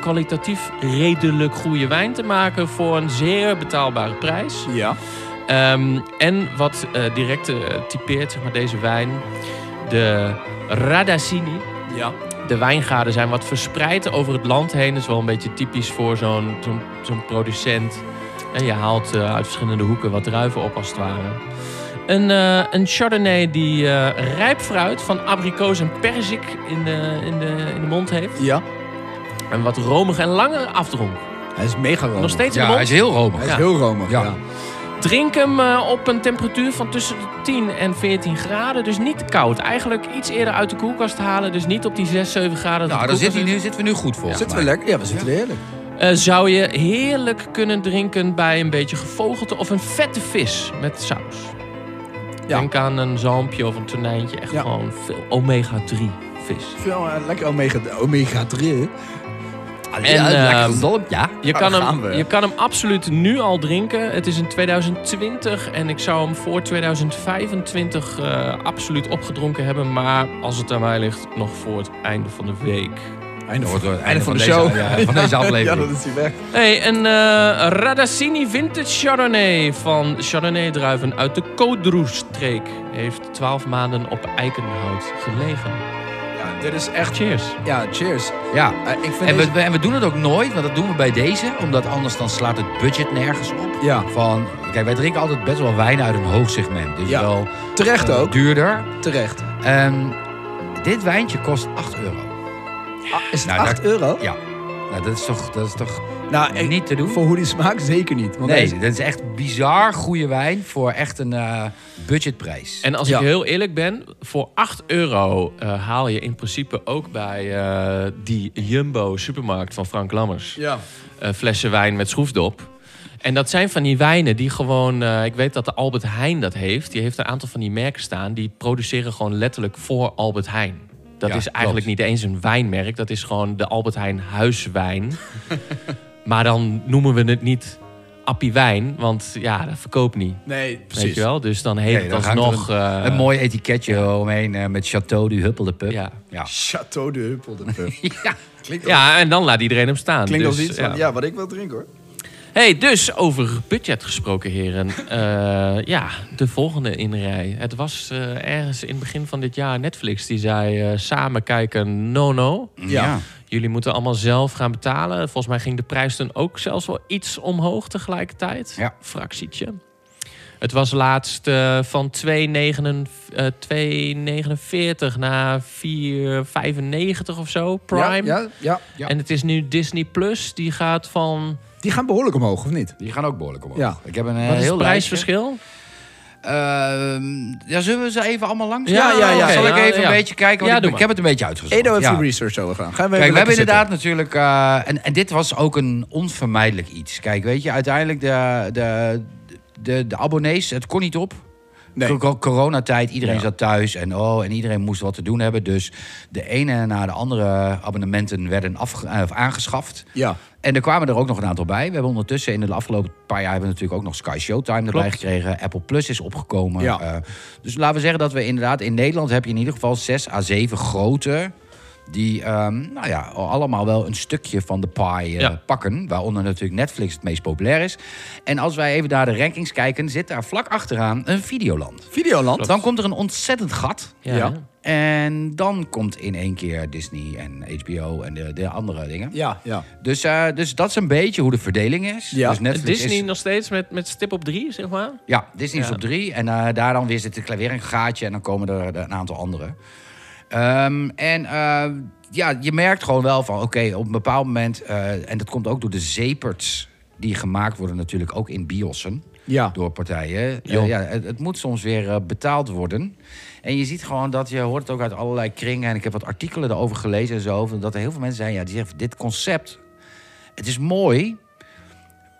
Speaker 3: kwalitatief redelijk goede wijn te maken voor een zeer betaalbare prijs.
Speaker 4: Ja.
Speaker 3: Ehm, en wat eh, direct eh, typeert zeg maar, deze wijn, de Radacini.
Speaker 4: Ja.
Speaker 3: De wijngaarden zijn wat verspreid over het land heen. Dat is wel een beetje typisch voor zo'n zo'n zo'n producent. En je haalt eh, uit verschillende hoeken wat druiven op als het ware. Een, eh, een Chardonnay die eh, rijp fruit van abrikoos en perzik in de, in, de, in de mond heeft.
Speaker 4: Ja.
Speaker 3: En wat romig en langer afdronk.
Speaker 4: Hij is mega romig.
Speaker 3: Nog steeds in de
Speaker 5: Ja, hij
Speaker 3: mond.
Speaker 5: is heel romig.
Speaker 4: Hij is
Speaker 3: Ja.
Speaker 4: heel romig, ja.
Speaker 5: Ja.
Speaker 3: Drink hem eh, op een temperatuur van tussen de 10 en 14 graden. Dus niet te koud. Eigenlijk iets eerder uit de koelkast halen. Dus niet op die 6, 7 graden. dat
Speaker 5: Nou,
Speaker 3: de
Speaker 5: daar zit
Speaker 3: koelkast
Speaker 5: hij
Speaker 3: is.
Speaker 5: nu, zitten we nu goed voor.
Speaker 4: Zitten we lekker? Ja, we zitten er heerlijk.
Speaker 3: Eh, zou je heerlijk kunnen drinken bij een beetje gevogelte of een vette vis met saus.
Speaker 4: Ja.
Speaker 3: Denk aan een zalmpje of een tonijntje. Echt
Speaker 4: Ja.
Speaker 3: gewoon veel omega-3 vis.
Speaker 4: Veel, eh, lekker omega, omega 3.
Speaker 3: En,
Speaker 5: lekker
Speaker 3: ehm,
Speaker 5: gezond, ja.
Speaker 3: Je
Speaker 4: Nou,
Speaker 3: kan,
Speaker 4: daar
Speaker 3: hem,
Speaker 4: gaan we.
Speaker 3: je kan hem absoluut nu al drinken. Het is in 2020 en ik zou hem voor 2025 eh, absoluut opgedronken hebben. Maar als het aan mij ligt, nog voor het einde van de week.
Speaker 4: Einde
Speaker 5: Dat wordt het einde van
Speaker 4: deze-
Speaker 5: deze- ja, van deze aflevering.
Speaker 4: Ja, dat is hij weg.
Speaker 3: Hey, een eh Radassini Vintage Chardonnay van Chardonnay-druiven uit de Kodroes-streek heeft 12 maanden op eikenhout gelegen.
Speaker 4: Ja, dit is echt...
Speaker 3: Cheers.
Speaker 4: Ja, cheers.
Speaker 5: Ja.
Speaker 4: Eh, ik vind
Speaker 5: En we,
Speaker 4: deze-
Speaker 5: we- en we doen het ook nooit, want dat doen we bij deze. Omdat anders dan slaat het budget nergens op.
Speaker 4: Ja,
Speaker 5: Van, kijk, wij drinken altijd best wel wijn uit een hoog segment. Dus
Speaker 4: Ja.
Speaker 5: wel
Speaker 4: terecht
Speaker 5: eh,
Speaker 4: ook.
Speaker 5: duurder.
Speaker 4: Terecht.
Speaker 5: Ehm, dit wijntje kost 8 euro.
Speaker 4: Ah, is het
Speaker 5: Nou,
Speaker 4: 8
Speaker 5: daar-
Speaker 4: euro?
Speaker 5: Ja. Nou, dat is toch, dat is toch
Speaker 4: Nou, ik-
Speaker 5: niet te doen?
Speaker 4: voor hoe die smaakt zeker niet. Want
Speaker 5: Nee,
Speaker 4: deze-
Speaker 5: dit is echt bizar goede wijn voor echt een eh, budgetprijs.
Speaker 3: En als
Speaker 4: Ja.
Speaker 3: ik heel eerlijk ben, voor 8 euro eh, haal je in principe ook bij eh, die Jumbo supermarkt van Frank Lammers
Speaker 4: Ja.
Speaker 3: eh, flessen wijn met schroefdop. En dat zijn van die wijnen die gewoon, eh, ik weet dat de Albert Heijn dat heeft. Die heeft een aantal van die merken staan, die produceren gewoon letterlijk voor Albert Heijn. Dat
Speaker 5: Ja,
Speaker 3: is eigenlijk
Speaker 5: klopt.
Speaker 3: niet eens een wijnmerk, dat is gewoon de Albert Heijn huiswijn. maar dan noemen we het niet appie wijn, want ja, dat verkoopt niet.
Speaker 4: Nee,
Speaker 3: Weet je wel? Dus dan
Speaker 5: Nee,
Speaker 3: heeft
Speaker 5: dan
Speaker 3: dat
Speaker 5: hangt er
Speaker 3: nog. eh,
Speaker 5: een mooi etiketje omheen eh, met Chateau du Huppel de Pup.
Speaker 3: Ja.
Speaker 5: ja.
Speaker 4: Chateau de Huppel de Pup.
Speaker 5: Ja.
Speaker 4: Klinkt, als-
Speaker 3: Ja, en dan laat iedereen hem staan.
Speaker 4: klinkt
Speaker 3: dus,
Speaker 4: als iets
Speaker 3: ja.
Speaker 4: van, ja, wat ik wil drinken hoor.
Speaker 3: Hey, dus over budget gesproken, heren. Eh, ja, de volgende in rij. Het was eh, ergens in het begin van dit jaar Netflix die zei: eh, samen kijken, no, no.
Speaker 4: Ja.
Speaker 3: Jullie moeten allemaal zelf gaan betalen. Volgens mij ging de prijs toen ook zelfs wel iets omhoog tegelijkertijd.
Speaker 5: Ja.
Speaker 3: Fractietje. Het was laatst eh, van 2,49 eh, 2,49 naar 4,95 of zo, Prime.
Speaker 4: Ja, ja, ja.
Speaker 5: Ja.
Speaker 3: En het is nu Disney Plus. Die gaat van.
Speaker 4: Die gaan behoorlijk omhoog, of niet?
Speaker 5: Die gaan ook behoorlijk omhoog.
Speaker 4: Ja.
Speaker 5: Ik heb een eh,
Speaker 3: Wat is
Speaker 5: heel
Speaker 3: het
Speaker 5: lijstje.
Speaker 3: prijsverschil?
Speaker 5: Ehm, ja, zullen we ze even allemaal langs?
Speaker 3: Ja, ja, ja.
Speaker 5: Zal ik
Speaker 3: Ja,
Speaker 5: even
Speaker 3: ja.
Speaker 5: een beetje kijken?
Speaker 3: Ja,
Speaker 5: Want
Speaker 3: doe
Speaker 5: ik, ik
Speaker 3: maar.
Speaker 5: heb het een beetje uitgezocht.
Speaker 4: Edo heeft
Speaker 5: ja.
Speaker 4: die research over gedaan. Gaan we
Speaker 5: Kijk,
Speaker 4: even
Speaker 5: we hebben
Speaker 4: lekker
Speaker 5: inderdaad natuurlijk... eh, en, en dit was ook een onvermijdelijk iets. Kijk, weet je, uiteindelijk de, de, de, de abonnees, het kon niet op.
Speaker 4: zitten.
Speaker 5: Co- co- Coronatijd, iedereen
Speaker 4: Ja.
Speaker 5: zat thuis en, oh, en iedereen moest wat te doen hebben. Dus de ene na de andere abonnementen werden afge- eh, of aangeschaft.
Speaker 4: Nee, ja.
Speaker 5: En er kwamen er ook nog een aantal bij. We hebben ondertussen in de afgelopen paar jaar hebben we natuurlijk ook nog Sky Showtime erbij
Speaker 3: Klopt.
Speaker 5: gekregen. Apple Plus is opgekomen.
Speaker 4: Ja.
Speaker 5: Eh, dus laten we zeggen dat we inderdaad in Nederland heb je in ieder geval 6 à 7 grote. Die ehm, nou ja, allemaal wel een stukje van de pie eh,
Speaker 3: Ja.
Speaker 5: pakken. Waaronder natuurlijk Netflix het meest populair is. En als wij even naar de rankings kijken, zit daar vlak achteraan een Videoland.
Speaker 4: Videoland.
Speaker 5: Dan komt er een ontzettend gat.
Speaker 3: Ja.
Speaker 4: Ja.
Speaker 5: En dan komt in één keer Disney en HBO en de, de andere dingen.
Speaker 4: Ja, ja.
Speaker 5: Dus, eh, dus dat is een beetje hoe de verdeling is.
Speaker 4: Ja.
Speaker 5: Dus
Speaker 3: En
Speaker 5: Netflix
Speaker 3: Disney
Speaker 5: Is,
Speaker 3: nog steeds met, met stip op drie, zeg maar.
Speaker 5: ja, Disney is
Speaker 3: Ja.
Speaker 5: op drie. En eh, daar dan weer zit er weer een gaatje. En dan komen er eh, een aantal andere. Ehm, en eh, ja, je merkt gewoon wel van... Oké, op een bepaald moment... eh, en dat komt ook door de zeeperts die gemaakt worden natuurlijk ook in biossen
Speaker 4: Ja.
Speaker 5: door partijen.
Speaker 3: Ja.
Speaker 5: Eh, ja, het, het moet soms weer eh, betaald worden. En je ziet gewoon dat, je hoort het ook uit allerlei kringen... en ik heb wat artikelen daarover gelezen en zo... dat er heel veel mensen zijn ja, die zeggen, dit concept, het is mooi...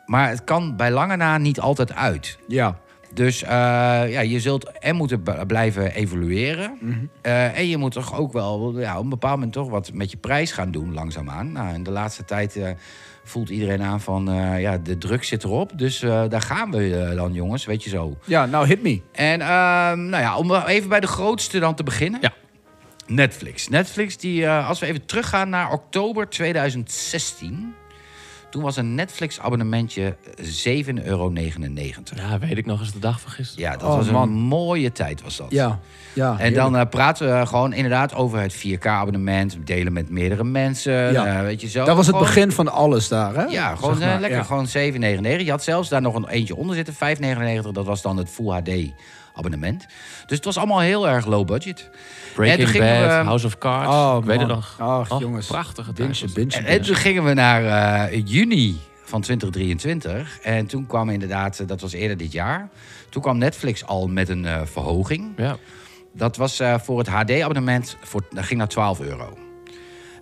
Speaker 5: maar het kan bij lange na niet altijd uit.
Speaker 4: Ja.
Speaker 5: Dus eh, ja, je zult en moeten b- blijven evolueren... eh, en je moet toch ook wel ja, op een bepaald moment toch wat met je prijs gaan doen langzaamaan. Nou, in de laatste tijd... eh, Voelt iedereen aan van eh, ja, de druk zit erop. Dus eh, daar gaan we eh, dan, jongens. Weet je zo.
Speaker 4: Ja, nou hit me.
Speaker 5: En ehm, nou ja, om even bij de grootste dan te beginnen.
Speaker 3: Ja.
Speaker 5: Netflix. Netflix, die, eh, als we even teruggaan naar oktober 2016. Toen was een Netflix-abonnementje 7,99 euro.
Speaker 3: Ja, weet ik nog eens de dag van gisteren.
Speaker 5: Ja, dat
Speaker 4: Oh,
Speaker 5: was een
Speaker 4: man.
Speaker 5: mooie tijd was dat.
Speaker 4: Ja. Ja.
Speaker 5: En dan eh, praten we gewoon inderdaad over het 4K-abonnement. Delen met meerdere mensen.
Speaker 4: Ja.
Speaker 5: eh, weet je zo.
Speaker 4: Dat was het
Speaker 5: Gewoon-
Speaker 4: begin van alles daar, hè?
Speaker 5: Ja, gewoon
Speaker 4: Zeg maar,
Speaker 5: eh, lekker.
Speaker 4: ja.
Speaker 5: Gewoon 7,99. Je had zelfs daar nog een eentje onder zitten. 5,99. Dat was dan het Full HD abonnement. Dus het was allemaal heel erg low budget. En
Speaker 3: Breaking
Speaker 5: toen gingen
Speaker 3: Bad,
Speaker 5: we-
Speaker 3: House of Cards.
Speaker 4: Oh,
Speaker 3: ik weet het
Speaker 4: man.
Speaker 3: nog.
Speaker 4: Ach, jongens.
Speaker 3: Prachtige
Speaker 4: Binge,
Speaker 3: tijd.
Speaker 4: binge,
Speaker 5: En,
Speaker 4: binge.
Speaker 5: en toen gingen we naar eh, juni van 2023. En toen kwam inderdaad, eh, dat was eerder dit jaar, toen kwam Netflix al met een eh, verhoging.
Speaker 3: Ja.
Speaker 5: Dat was eh, voor het HD-abonnement, voor- dat ging naar 12 euro.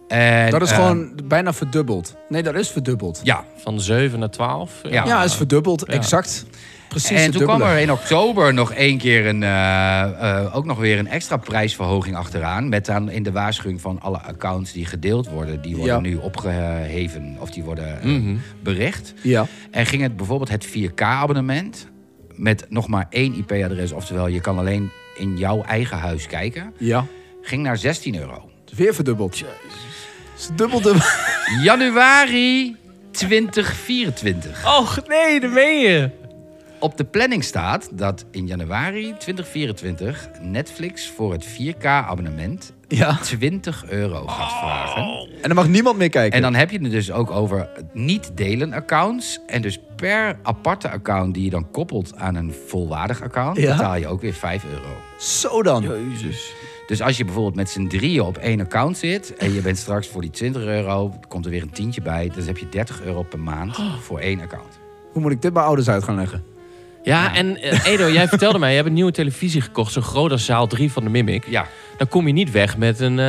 Speaker 5: En,
Speaker 4: dat is
Speaker 5: eh,
Speaker 4: gewoon bijna verdubbeld. Nee, dat is verdubbeld.
Speaker 5: Ja,
Speaker 3: Van 7 naar 12.
Speaker 5: Ja.
Speaker 4: Ja, is verdubbeld.
Speaker 3: Ja.
Speaker 4: Exact. Precies.
Speaker 5: en
Speaker 4: het
Speaker 5: toen kwam
Speaker 4: dubbele.
Speaker 5: er in oktober nog één keer een, eh, eh, ook nog weer een extra prijsverhoging achteraan. Met dan in de waarschuwing van alle accounts die gedeeld worden, die worden
Speaker 4: Ja. Mhm.
Speaker 5: nu opgeheven of die worden eh, bericht.
Speaker 4: Ja.
Speaker 5: En ging het bijvoorbeeld het 4K-abonnement met nog maar één IP-adres, oftewel je kan alleen in jouw eigen huis kijken,
Speaker 4: Ja.
Speaker 5: ging naar 16 euro.
Speaker 4: Weer verdubbeld. Is dubbel dubbel.
Speaker 5: Januari 2024.
Speaker 3: Och nee, daar ben je.
Speaker 5: Op de planning staat dat in januari 2024 Netflix voor het 4K-abonnement
Speaker 4: Ja. Oh.
Speaker 5: 20 euro gaat vragen.
Speaker 4: En dan mag niemand meer kijken.
Speaker 5: En dan heb je het dus ook over niet-delen accounts. En dus per aparte account die je dan koppelt aan een volwaardig account,
Speaker 4: Ja.
Speaker 5: betaal je ook weer 5 euro.
Speaker 4: Zo dan.
Speaker 5: Dus als je bijvoorbeeld met z'n drieën op één account zit en je bent straks voor die 20 euro, komt er weer een tientje bij, dan heb je 30 euro per maand
Speaker 4: Oh.
Speaker 5: voor één account.
Speaker 4: Hoe moet ik dit bij ouders uit gaan leggen?
Speaker 3: Ja, en eh, Edo, jij vertelde mij, je hebt een nieuwe televisie gekocht. Zo groot als zaal 3 van de Mimic.
Speaker 5: Ja.
Speaker 3: Dan kom je niet weg met een eh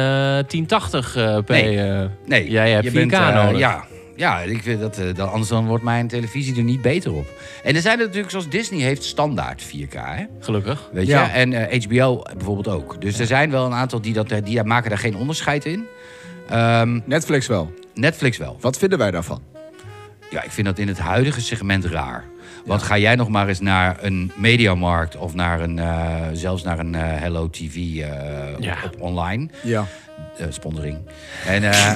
Speaker 3: 1080 eh p.
Speaker 5: Nee.
Speaker 3: eh.
Speaker 5: Nee,
Speaker 3: Jij hebt
Speaker 5: je
Speaker 3: 4K
Speaker 5: bent, eh,
Speaker 3: nodig.
Speaker 5: Ja, ja ik vind dat, eh, dan, anders dan wordt mijn televisie er niet beter op. En er zijn er natuurlijk, zoals Disney heeft standaard 4K, hè?
Speaker 3: Gelukkig.
Speaker 5: weet
Speaker 4: Ja.
Speaker 5: je. En eh, HBO bijvoorbeeld ook. Dus er zijn wel een aantal die, dat, eh, die maken daar geen onderscheid in. Ehm,
Speaker 4: Netflix wel.
Speaker 5: Netflix wel.
Speaker 4: Wat vinden wij daarvan?
Speaker 5: Ja, ik vind dat in het huidige segment raar. Want ga jij nog maar eens naar een mediamarkt of naar een, eh, zelfs naar een eh, Hello TV eh, op-
Speaker 3: Ja.
Speaker 5: op, online
Speaker 4: Ja.
Speaker 5: Eh, sponsoring. En eh,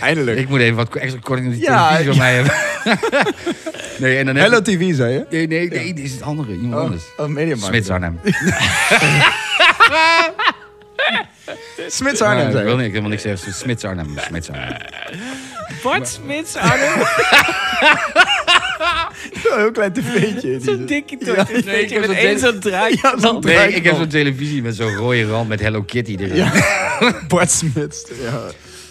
Speaker 4: Eindelijk.
Speaker 5: ik moet even wat extra korting op die
Speaker 4: Ja,
Speaker 5: televisie van mij hebben. nee, en dan heb
Speaker 4: Hello
Speaker 5: ik-
Speaker 4: TV, zei je?
Speaker 5: Nee, nee, nee, dit is het andere. Iemand anders.
Speaker 4: oh Mediamarkt.
Speaker 5: Smits Arnhem.
Speaker 4: Smits Arnhem,
Speaker 5: Eh, ik
Speaker 4: zei
Speaker 5: wil
Speaker 4: je.
Speaker 5: niet, ik wil niks zeggen. Smits Arnhem. Smits Arnhem.
Speaker 3: Bart Smits, Arno,
Speaker 4: Een Oh, heel klein tv'tje.
Speaker 3: dikke
Speaker 5: Nee, ik heb zo'n tele-
Speaker 3: draai.
Speaker 4: Ja, zo'n
Speaker 5: Nee,
Speaker 4: draai-
Speaker 5: ik heb zo'n televisie met zo'n rode rand met Hello Kitty erin.
Speaker 4: Bart Smits. Ja.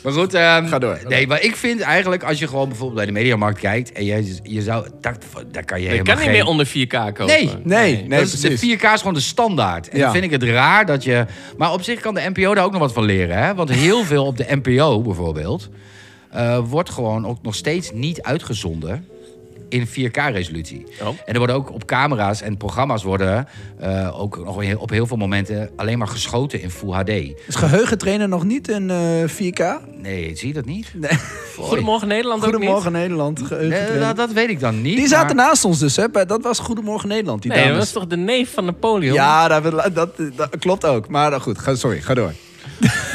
Speaker 5: Maar goed, ehm,
Speaker 4: Ga door.
Speaker 5: Nee, maar ik vind eigenlijk als je gewoon bijvoorbeeld bij de Mediamarkt kijkt en je, je zou, daar, daar kan je
Speaker 3: Je
Speaker 5: helemaal
Speaker 3: kan niet
Speaker 5: geen-
Speaker 3: meer onder 4K kopen.
Speaker 5: Nee.
Speaker 4: Nee, nee,
Speaker 5: Dat is-
Speaker 4: precies.
Speaker 5: de 4K is gewoon de standaard. En
Speaker 4: Ja.
Speaker 5: dan vind ik het raar dat je... Maar op zich kan de NPO daar ook nog wat van leren. Hè? Want heel veel op de NPO bijvoorbeeld... eh, wordt gewoon ook nog steeds niet uitgezonden in 4K-resolutie.
Speaker 3: Oh.
Speaker 5: En er worden ook op camera's en programma's worden... eh, ook nog heel- op heel veel momenten alleen maar geschoten in Full HD.
Speaker 4: Is geheugentrainer nog niet in eh, 4K?
Speaker 5: Nee, zie je dat niet?
Speaker 4: Nee.
Speaker 5: Foei.
Speaker 3: Goedemorgen Nederland ook niet.
Speaker 4: Goedemorgen Nederland.
Speaker 5: Nee,
Speaker 4: Geheugentrainer.
Speaker 5: Eh, dat, dat weet ik dan niet.
Speaker 4: Die zaten
Speaker 5: maar-
Speaker 4: naast ons dus, hè? bij- Dat was Goedemorgen Nederland. Die
Speaker 3: Nee, dat
Speaker 4: dames.
Speaker 3: was toch de neef van Napoleon?
Speaker 4: Ja, dat, wil- dat, dat klopt ook. Maar eh, goed, ga, sorry, ga door.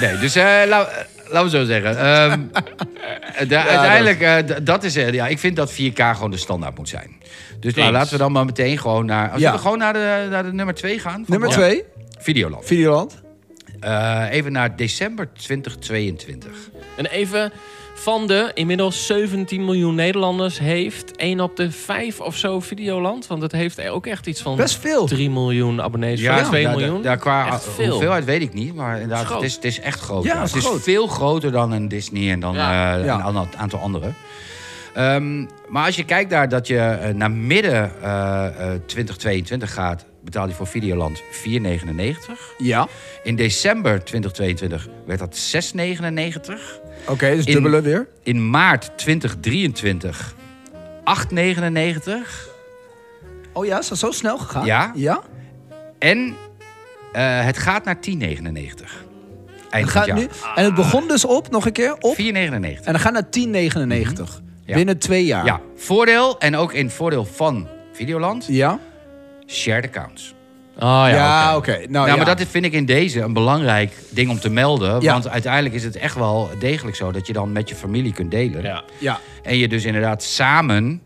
Speaker 5: Nee, dus eh, la- eh, laten we zo zeggen. Ehm, eh, de- uiteindelijk, eh, d- dat is, eh, ja, ik vind dat 4K gewoon de standaard moet zijn. Dus nou,
Speaker 3: Eens.
Speaker 5: laten we dan maar meteen gewoon naar, als
Speaker 4: Ja.
Speaker 5: we gewoon naar, de, naar de nummer 2 gaan. van
Speaker 4: Nummer
Speaker 5: Bas-
Speaker 4: 2,
Speaker 5: Videoland.
Speaker 4: Videoland.
Speaker 5: Eh, even naar december 2022.
Speaker 3: En even van de inmiddels 17 miljoen Nederlanders heeft 1 op de 5 of zo Videoland. Want het heeft ook echt iets van
Speaker 4: Best veel.
Speaker 3: 3 miljoen abonnees. Ja, 2
Speaker 5: daar-
Speaker 3: miljoen.
Speaker 5: daar- daar qua
Speaker 3: Echt veel.
Speaker 5: hoeveelheid weet ik niet, maar inderdaad,
Speaker 3: Het is
Speaker 5: het, is, het is echt groot.
Speaker 4: Ja,
Speaker 5: ja.
Speaker 4: het
Speaker 5: het
Speaker 4: is
Speaker 5: is
Speaker 4: groot.
Speaker 5: veel groter dan een Disney en dan
Speaker 3: Ja.
Speaker 5: eh,
Speaker 4: Ja.
Speaker 5: een ander- aantal andere. Ehm, maar als je kijkt naar dat je eh, naar midden eh, eh, 2022 gaat, betaal je voor Videoland 4,99.
Speaker 4: Ja.
Speaker 5: In december 2022 werd dat 6,99.
Speaker 4: Oké, dus
Speaker 5: In-
Speaker 4: dubbele weer.
Speaker 5: In maart 2023 8,99.
Speaker 4: Oh ja, is dat zo snel gegaan?
Speaker 5: Ja.
Speaker 4: Ja?
Speaker 5: En eh, het gaat naar 10,99.
Speaker 4: En,
Speaker 5: Eind van
Speaker 4: gaat
Speaker 5: het jaar.
Speaker 4: nu, en het begon dus op, nog een keer, op.
Speaker 5: 4,99.
Speaker 4: En Ah. dan gaat naar 10,99.
Speaker 5: Ja.
Speaker 4: Binnen twee jaar.
Speaker 5: Ja, voordeel en ook in voordeel van Videoland,
Speaker 4: Ja?
Speaker 5: shared accounts.
Speaker 3: Oh ja, oké.
Speaker 4: Oh oké. Nou,
Speaker 5: nou,
Speaker 4: ja.
Speaker 5: maar dat vind ik in deze een belangrijk ding om te melden.
Speaker 4: Ja.
Speaker 5: Want uiteindelijk is het echt wel degelijk zo dat je dan met je familie kunt delen.
Speaker 3: Ja.
Speaker 4: Ja.
Speaker 5: En je dus inderdaad samen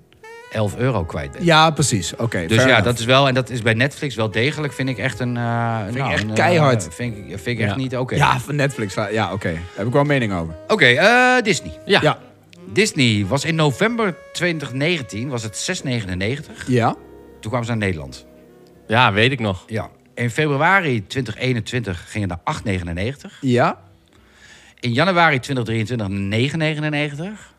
Speaker 5: 11 euro kwijt bent.
Speaker 4: ja, precies. Oké,
Speaker 5: Dus
Speaker 4: fair
Speaker 5: ja,
Speaker 4: enough.
Speaker 5: dat is wel, en dat is bij Netflix wel degelijk, vind ik echt een... eh,
Speaker 4: ik
Speaker 5: nou,
Speaker 4: echt
Speaker 5: een, eh,
Speaker 4: keihard.
Speaker 5: vind ik, vind ik echt
Speaker 3: Ja.
Speaker 5: niet oké.
Speaker 4: Ja, van Netflix. Ja, oké. Daar heb ik wel een mening over.
Speaker 5: Oké, eh, Disney.
Speaker 3: Ja.
Speaker 4: Ja.
Speaker 5: Disney was in november 2019, was het 6,99.
Speaker 4: Ja.
Speaker 5: Toen kwamen ze naar Nederland.
Speaker 3: Ja, weet ik nog.
Speaker 5: Ja. In februari 2021 ging het naar 8,99.
Speaker 4: Ja.
Speaker 5: In januari 2023 naar 9,99.